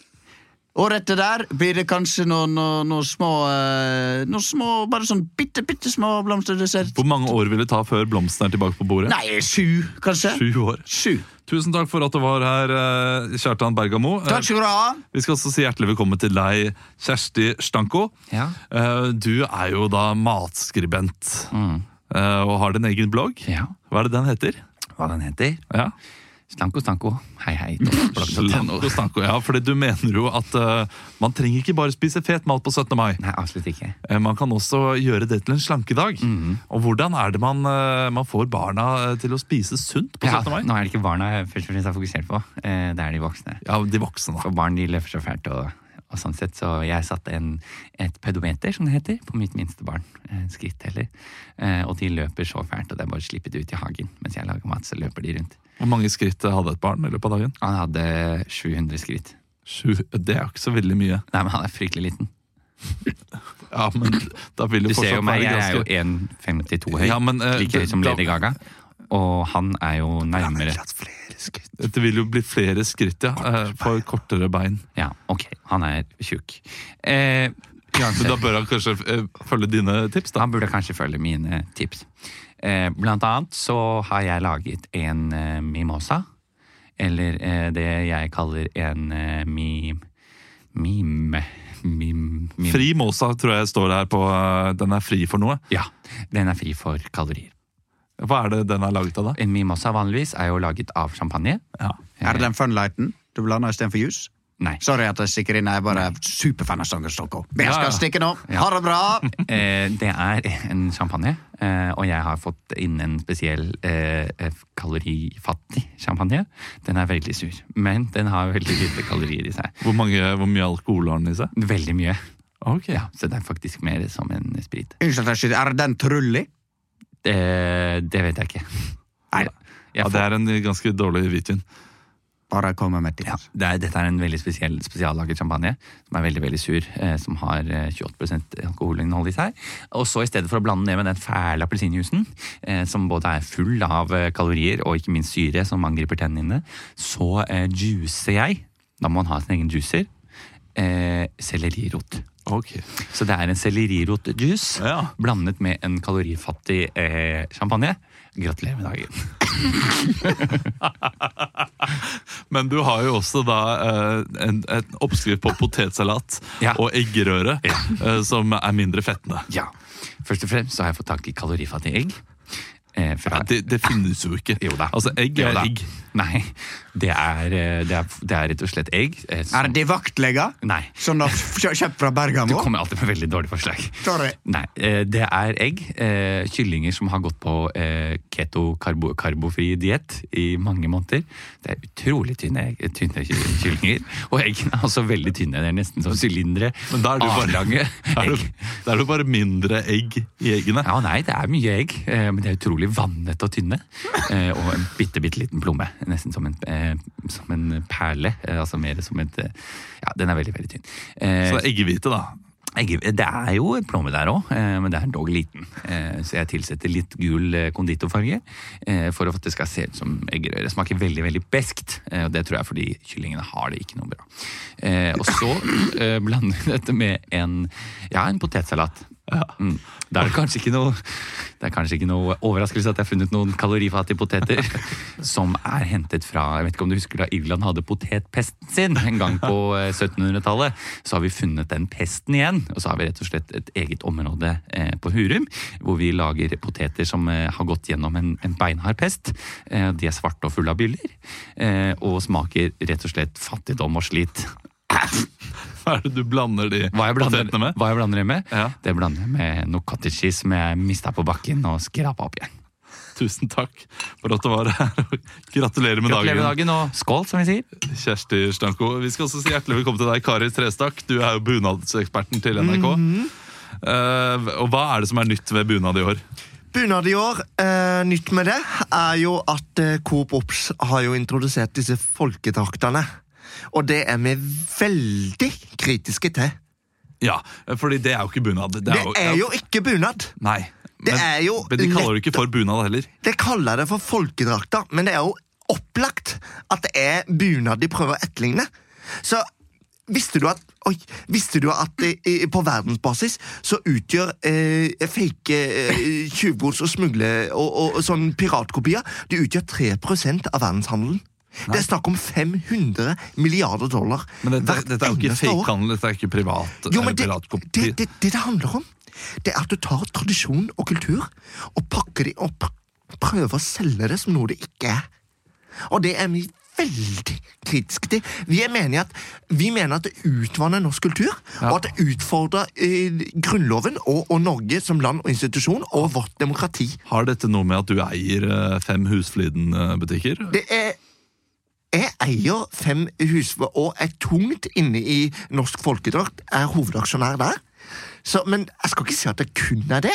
Speaker 4: Året etter der blir det kanskje noen noe, noe små, eh, noe små Bare sånn bitte, bitte små blomster. du ser.
Speaker 1: Hvor mange år vil det ta før blomsten er tilbake på bordet?
Speaker 4: Nei, sju, kanskje.
Speaker 1: Sju år.
Speaker 4: Sju.
Speaker 1: Tusen takk for at du var her, eh, Kjartan Bergamo. Eh,
Speaker 4: Takk skal du ha.
Speaker 1: Vi skal også si hjertelig velkommen til deg, Kjersti Stanko.
Speaker 2: Ja.
Speaker 1: Eh, Du er jo da matskribent eh, og har din egen blogg.
Speaker 2: Ja.
Speaker 1: Hva er det den heter?
Speaker 2: Hva den heter?
Speaker 1: Ja.
Speaker 2: Slanko Stanko. Hei, hei.
Speaker 4: (laughs)
Speaker 1: Slank og stanko, ja, fordi du mener jo at eh, man trenger ikke bare spise fet mat på 17. mai.
Speaker 2: Nei, absolutt ikke.
Speaker 1: Eh, Man kan også gjøre det til en slankedag. Og hvordan er det man, eh, man får barna eh, til å spise sunt på
Speaker 2: Ja,
Speaker 1: 17. mai?
Speaker 2: nå er det ikke barna jeg først og fremst er fokusert på, eh, det er de voksne.
Speaker 1: Ja, de voksne, da.
Speaker 2: For barn de løper så fælt, og, og sånn sett, så jeg satte en, et pedometer, som det heter, på mitt minste barn. En skritt heller. Eh, og de løper så fælt, og det er bare å slippe det ut i hagen. Mens jeg lager mat, så løper de rundt.
Speaker 1: Hvor mange skritt eh, hadde et barn i løpet av dagen?
Speaker 2: Han hadde 700 skritt.
Speaker 1: Sju. Det er jo ikke så veldig mye.
Speaker 2: Nei, men han er fryktelig liten.
Speaker 1: Ja, men da vil
Speaker 2: Du
Speaker 1: det
Speaker 2: ser jo
Speaker 1: fortsatt
Speaker 2: meg,
Speaker 1: være
Speaker 2: jeg er jo
Speaker 1: ganske
Speaker 2: 1,52 høy.
Speaker 1: Ja, men, eh,
Speaker 2: like høy som
Speaker 1: da-
Speaker 2: Lady Gaga. Og han er jo nærmere
Speaker 1: Det vil jo bli flere skritt, ja. eh, For kortere bein.
Speaker 2: Ja, ok, han er tjukk. Eh,
Speaker 1: Men da bør han kanskje eh, følge dine tips, da.
Speaker 2: han burde kanskje følge mine tips. Eh, blant annet så har jeg laget en eh, mimosa, eller eh, det jeg kaller en eh, mim... Mime... Mim... mim.
Speaker 1: Fri måsa tror jeg står her på eh, Den er fri for noe.
Speaker 2: Ja, den er fri for kalorier.
Speaker 1: Hva er det den er laget av, da?
Speaker 2: En mimosa vanligvis er jo laget av champagne.
Speaker 4: Er det den funlighten du blander istedenfor juice?
Speaker 2: Nei.
Speaker 4: Sorry at jeg stikker inn, jeg er bare superfan av Sanger Stokko. Men jeg
Speaker 1: Ja, ja.
Speaker 4: skal stikke nå. Ha det
Speaker 1: (laughs)
Speaker 4: bra!
Speaker 2: Eh, det er en champagne, eh, og jeg har fått inn en spesiell eh, eh, kalorifattig champagne. Den er veldig sur, men den har veldig lite kalorier i seg.
Speaker 1: Hvor, mange, hvor mye alkohol har den i seg?
Speaker 2: Veldig mye.
Speaker 1: Ok,
Speaker 2: Ja, så det er faktisk mer som en sprit.
Speaker 4: Unnskyld, at jeg skyter. er den trullig?
Speaker 2: Eh, det vet jeg ikke.
Speaker 4: Nei,
Speaker 2: Jeg
Speaker 1: ja, Det er en ganske dårlig hvitvin.
Speaker 4: bare kom med til.
Speaker 2: får- det er, dette er en veldig spesiell spesiallaget champagne, som er veldig veldig sur, eh, som har eh, 28 alkoholinnhold i seg. Og så i stedet for å blande det med den fæle appelsinjuicen, eh, som både er full av eh, kalorier og ikke minst syre som angriper tennene dine, så eh, juicer jeg, da må man ha sin egen juicer, eh, sellerirot.
Speaker 1: Ok.
Speaker 2: Så det er en sellerirotjuice
Speaker 1: Ja.
Speaker 2: blandet med en kalorifattig eh, champagne. Gratulerer med dagen.
Speaker 1: Men du har jo også da eh, en, en oppskrift på potetsalat
Speaker 2: Ja.
Speaker 1: og eggerøre, eh, som er mindre fettende.
Speaker 2: Ja. Først og fremst så har jeg fått tak i kalorifattige egg. eh, fra
Speaker 1: det, det finnes jo ikke.
Speaker 2: Jo da.
Speaker 1: Altså, egg
Speaker 2: Jo
Speaker 1: er
Speaker 2: da.
Speaker 1: egg.
Speaker 2: Nei, det er, eh, det er, det er rett og slett egg. eh, som-
Speaker 4: Er det vaktleger?
Speaker 2: Nei.
Speaker 4: Sånn
Speaker 1: (laughs)
Speaker 4: at kjøpt fra
Speaker 2: Du
Speaker 4: Bergamo?
Speaker 2: kommer alltid med veldig dårlige forslag.
Speaker 4: Sorry.
Speaker 2: Nei, eh, det er egg. eh, Kyllinger som har gått på eh, keto-karbofri diett i mange måneder. Det er utrolig tynne, egg, eh, tynne ky- kyllinger. Og eggene er også veldig tynne. Det er nesten som sylindere.
Speaker 1: Men da er du bare-
Speaker 2: Avlange
Speaker 1: Da (laughs) er,
Speaker 2: egg.
Speaker 1: det, da er det bare mindre egg i eggene.
Speaker 2: Ja, nei, det er mye egg, eh, men de er utrolig vannete og tynne. Eh, Og en bitte, bitte liten plomme. Nesten som en, eh, som en perle. eh, Altså mer som et eh, Ja, den er veldig, veldig tynn. Eh,
Speaker 1: Så det er eggehvite, da.
Speaker 2: Egge, det er jo en plomme der òg, men det er dog liten. Eh, Så jeg tilsetter litt gul eh, konditorfarge eh, for at det skal se ut som eggerøre. Det smaker veldig veldig beskt, eh, og det tror jeg er fordi kyllingene har det ikke noe bra. Eh, Og så eh, blander vi dette med en, ja, en potetsalat. Mm. Da er det kanskje ikke noe Det er kanskje ikke noe overraskelse at jeg har funnet noen kalorifattige poteter som er hentet fra Jeg vet ikke om du husker da Irland hadde potetpesten sin en gang på eh, 1700-tallet. Så har vi funnet den pesten igjen, og så har vi rett og slett et eget område eh, på Hurum hvor vi lager poteter som eh, har gått gjennom en, en beinhard pest. Eh, de er svarte og fulle av byller, eh, og smaker rett og slett fattigdom og slit.
Speaker 1: Hva er det du blander de
Speaker 2: Hva jeg blander,
Speaker 1: potetene med?
Speaker 2: hva jeg blander det med?
Speaker 1: Ja.
Speaker 2: Det blander jeg med noe cottage cheese som jeg mista på bakken og skrapa opp igjen.
Speaker 1: Tusen takk for at du var her. (laughs) og Gratulerer med
Speaker 2: Gratulerer med
Speaker 1: dagen,
Speaker 2: dagen, og skål, som vi sier.
Speaker 1: Kjersti Stanko. Vi skal også si hjertelig velkommen til deg, Kari Trestakk. Du er jo bunadseksperten til NRK.
Speaker 2: Mhm.
Speaker 1: Eh, og hva er det som er nytt ved bunad i år?
Speaker 3: Bunad i år, eh, nytt med det, er jo at eh, Coop Ops har jo introdusert disse folkedraktene. Og det er vi veldig kritiske til.
Speaker 1: Ja, fordi det er jo ikke bunad.
Speaker 3: Det er jo ikke bunad!
Speaker 1: Nei.
Speaker 3: Det er jo
Speaker 1: men de kaller det ikke for bunad heller.
Speaker 3: Det kaller det for folkedrakta, men det er jo opplagt at det er bunad de prøver å etterligne. Så visste du at, oi, visste du at i, i, på verdensbasis så utgjør eh, fake eh, tjuvgods og smugle og, og, og sånn piratkopier de utgjør 3 av verdenshandelen? Det er snakk om 500 milliarder dollar
Speaker 1: Men dette,
Speaker 3: hvert
Speaker 1: dette er jo ikke
Speaker 3: eneste år.
Speaker 1: fakehandel, dette er ikke privat.
Speaker 3: Jo,
Speaker 1: eh,
Speaker 3: men det,
Speaker 1: piratkopi.
Speaker 3: det, det, det det handler om, det er at du tar tradisjon og kultur og pakker de opp. Prøver å selge det som noe det ikke er. Og det er vi veldig kritiske til. Vi er mener at, vi mener at det utvanner norsk kultur, og at det utfordrer eh, Grunnloven og, og Norge som land og institusjon, og vårt demokrati.
Speaker 1: Har dette noe med at du eier eh, fem eh, Husfliden-butikker?
Speaker 3: Det er jeg eier fem hus og er tungt inne i Norsk Folkedrakt, er hovedaksjonær der. Så, men jeg skal ikke si at det kun er det.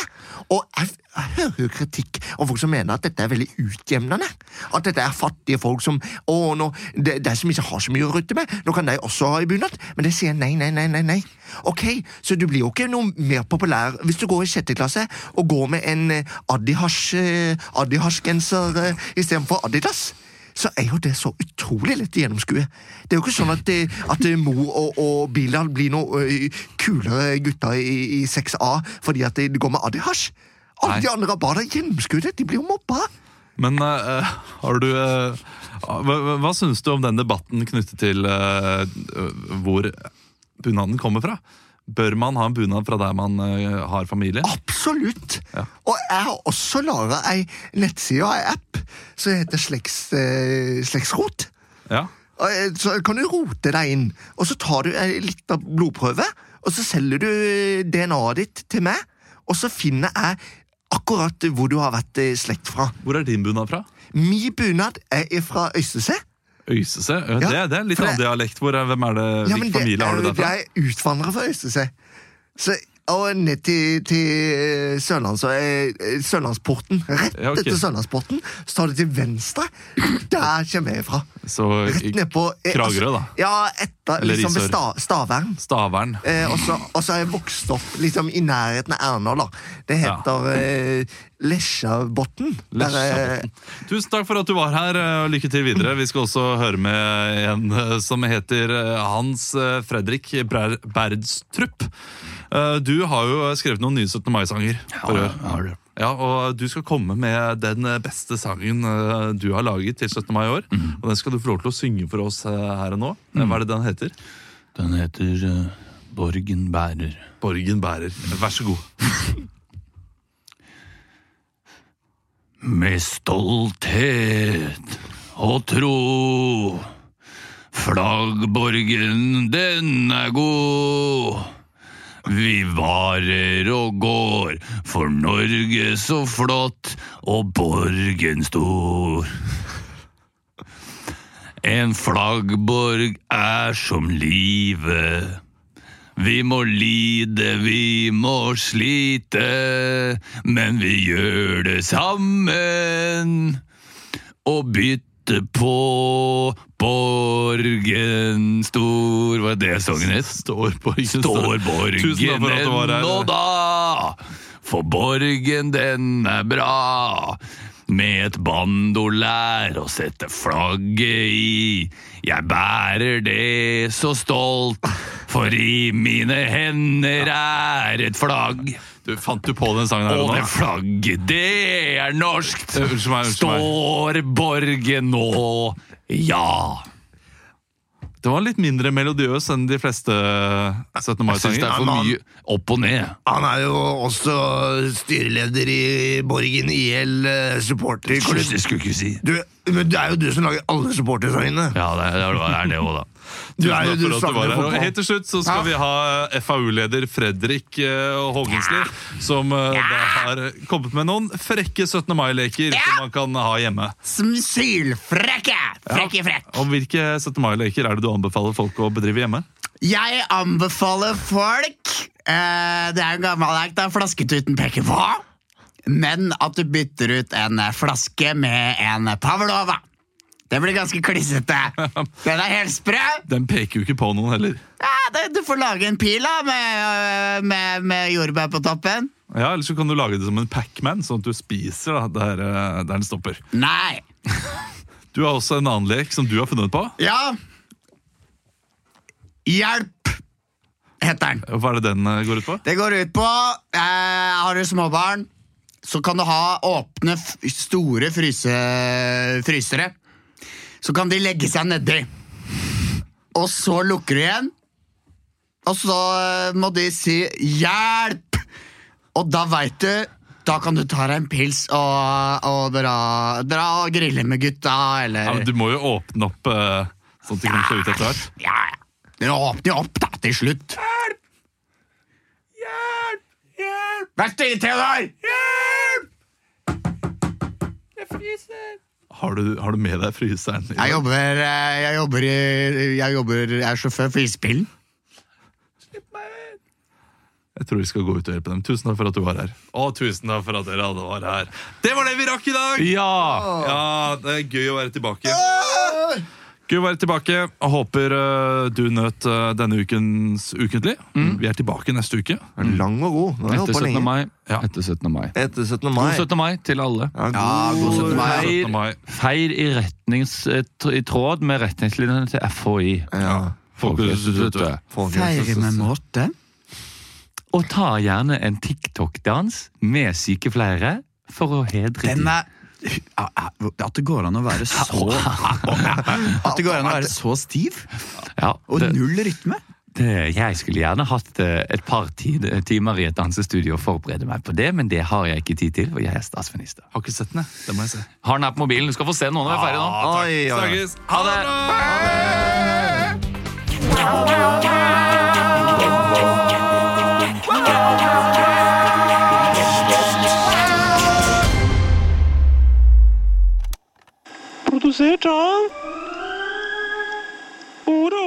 Speaker 3: Og jeg, jeg hører jo kritikk om folk som mener at dette er veldig utjevnende. At dette er fattige folk som å, nå, det, det er som ikke har så mye å rutte med. Nå kan de også ha i bunad. Men det sier nei, nei, nei, nei. nei. Ok, Så du blir jo ikke noe mer populær hvis du går i sjette klasse og går med en eh, Adihash, eh, Adihash-genser eh, istedenfor Adidas så er jo det så utrolig lett å gjennomskue. Det er jo ikke sånn at, eh, at eh, Mo og, og Bilal blir noe eh, kulere gutter i, i 6A fordi at de går med Adihash. Alle de andre rabarder gjennomskuer det. De blir jo mobba.
Speaker 1: Men eh, har du eh, hva, hva- hva syns du om den debatten knyttet til eh, hvor bunaden kommer fra? Bør man ha en bunad fra der man eh, har familie?
Speaker 3: Ah! Absolutt. Og jeg har også laga ei nettside og ei app som heter Slekts, eh, Slektsrot.
Speaker 1: Ja.
Speaker 3: Og, eh, Så kan du rote deg inn, og så tar du eh, litt av blodprøve, og så selger du eh, DNA-et ditt til meg, og så finner jeg akkurat hvor du har vært eh, slekt fra.
Speaker 1: Hvor er din bunad fra?
Speaker 3: Mi bunad er fra Øystese.
Speaker 1: Øysese? Ja,
Speaker 3: Ja,
Speaker 1: Eh, det, det er litt
Speaker 3: for
Speaker 1: annen
Speaker 3: det-
Speaker 1: dialekt. Hvor er, hvem er det,
Speaker 3: Ja, men
Speaker 1: Hvilken
Speaker 3: det
Speaker 1: familie har
Speaker 3: er
Speaker 1: du
Speaker 3: jo-
Speaker 1: derfra?
Speaker 3: Jeg er utvandrer fra Øystese. Så, og ned til, til eh, Sørlands, eh, Sørlandsporten. Rett
Speaker 1: Ja, ok.
Speaker 3: etter Sørlandsporten, så tar du til venstre. Der kommer jeg fra.
Speaker 1: Så
Speaker 3: Rett ned på eh,
Speaker 1: Kragerø, da.
Speaker 3: Ja, etter,
Speaker 1: Eller
Speaker 3: liksom ved sta,
Speaker 1: Risør.
Speaker 3: Stavern.
Speaker 1: Stavern.
Speaker 3: Eh, og så- og så har jeg vokst opp liksom, i nærheten av Erna. da. Det heter eh, Lesjabotn. Der, eh,
Speaker 1: Lesjabotn. Tusen takk for at du var her, eh, og lykke til videre. Vi skal også høre med en eh, som heter eh, Hans eh, Fredrik Ber- Berdstrup. Eh, Du har jo skrevet noen nye 17. mai-sanger. for i år. Ja, og du skal komme med den beste sangen eh, du har laget til 17. mai i år. Og den skal du få lov til å synge for oss eh, her og nå. Eh, Hva er det den heter?
Speaker 4: Den heter eh, Borgen bærer.
Speaker 1: Borgen bærer. Vær så god.
Speaker 2: med stolthet og tro. Flaggborgen, den er god. Vi varer og går, for Norge så flott og borgen stor. En flaggborg er som livet. Vi må lide, vi må slite, men vi gjør det sammen. Og bytte på Borgen stor Var det sangen het?
Speaker 1: Står Borgen
Speaker 2: Står
Speaker 1: Tusen takk for at
Speaker 2: Borgen
Speaker 1: du var her.
Speaker 2: ennå da, for Borgen den er bra. Med et bandolær å sette flagget i. Jeg bærer det så stolt, for i mine hender er et flagg.
Speaker 1: Du Fant du på den sangen her
Speaker 2: Og
Speaker 1: nå?
Speaker 2: det flagget, det er norskt!
Speaker 1: Eh, unnskyld meg, unnskyld meg.
Speaker 2: Står Borgen nå, ja.
Speaker 1: Det var litt mindre melodiøs enn de fleste 17.
Speaker 2: Jeg synes
Speaker 1: mai-sanger.
Speaker 2: det er for mye opp og ned.
Speaker 3: Han er jo også styreleder i Borgen IL eh, supporterklubb.
Speaker 2: Det skulle jeg ikke si.
Speaker 3: Du, men det er jo du som lager alle supportersangene.
Speaker 2: Ja, det er det, er det også, da.
Speaker 3: Du er jo
Speaker 1: Tusen
Speaker 3: du
Speaker 1: takk for at du var her.
Speaker 3: savner
Speaker 1: Og
Speaker 3: fotball.
Speaker 1: helt til slutt så skal
Speaker 3: Ja.
Speaker 1: vi ha eh, FAU-leder Fredrik eh, Hågensli, som eh, da har kommet med noen frekke 17. mai-leker som man kan ha hjemme.
Speaker 4: Som sylfrekke! Frekke, frekk.
Speaker 1: Og hvilke 17. mai-leker er det du anbefaler folk å bedrive hjemme?
Speaker 4: Jeg anbefaler folk eh, Det er jo gammeldags, da. Flasketuten peker på. Men at du bytter ut en eh, flaske med en Pavlova. Det blir ganske klissete.
Speaker 1: (laughs)
Speaker 4: Den er helt sprø.
Speaker 1: Den peker jo ikke på noen heller.
Speaker 4: Ja, det, du får lage en pil da, med, øh, med, med jordbær på toppen.
Speaker 1: Ja, Eller så kan du lage det som en Pac-Man, sånn at du spiser da, der, eh, der den stopper.
Speaker 4: Nei.
Speaker 1: Du har også en annen lek som du har funnet på.
Speaker 4: Ja. Hjelp, heter den.
Speaker 1: Hva er det den eh, går ut på?
Speaker 4: Det går ut på eh, Har du småbarn, så kan du ha åpne, f- store fryse, frysere. Så kan de legge seg nedi. Og så lukker du igjen. Og så eh, må de si 'hjelp'! Og da veit du Da kan du ta deg en pils og, og dra, dra og grille med gutta, eller
Speaker 1: Ja, men du må jo åpne opp eh, sånn at de kan se ut etter hvert.
Speaker 4: ja, ja. Dere åpner jo opp, da, til slutt. Hjelp! Hjelp! Hjelp! Vær stille, Theodor!
Speaker 1: Har du, har du med deg fryseren? i dag?
Speaker 4: Jeg jobber, eh, jeg jobber, i- jeg jobber Jeg er sjåfør for Isbilen.
Speaker 1: Jeg tror vi skal gå ut og hjelpe dem. Tusen takk for at du var her. Og tusen takk for at dere alle var her. Det var det vi rakk i dag! Ja, det er gøy å være tilbake. Gøy å være tilbake. Jeg håper eh, du nøt eh, denne ukens ukentlig. Vi er tilbake neste uke.
Speaker 3: Lang og god. Nå har jeg
Speaker 11: Etter
Speaker 3: holdt på
Speaker 11: 17.
Speaker 3: lenge.
Speaker 11: mai. Etter 17. mai.
Speaker 3: Etter 17. mai.
Speaker 11: God 17. mai til alle.
Speaker 3: Ja, god 17. mai.
Speaker 11: Feir,
Speaker 1: 17. mai.
Speaker 11: feir i, retnings, eh, i tråd med retningslinjene til FHI.
Speaker 3: Ja.
Speaker 11: Folkehelseinstituttet.
Speaker 4: Feire med måte.
Speaker 11: Og ta gjerne en TikTok-dans med sykepleiere for å hedre
Speaker 4: Den
Speaker 11: dem.
Speaker 4: er Ja, ja, At det går an å (laughs) være så At det går an å være så stiv
Speaker 11: Ja,
Speaker 4: og
Speaker 11: det,
Speaker 4: null rytme.
Speaker 11: det, jeg skulle gjerne hatt eh, et par ti- eh, timer i et dansestudio og forberede meg på det, men det har jeg ikke tid til, for jeg er statsminister.
Speaker 1: Har ikke sett den, jeg. Det må jeg se.
Speaker 11: Har den her på mobilen. Du skal få se den nå når vi er ferdig nå.
Speaker 3: Oi, oi, oi.
Speaker 1: Snakkes! Ha det!
Speaker 8: Produsert av Oro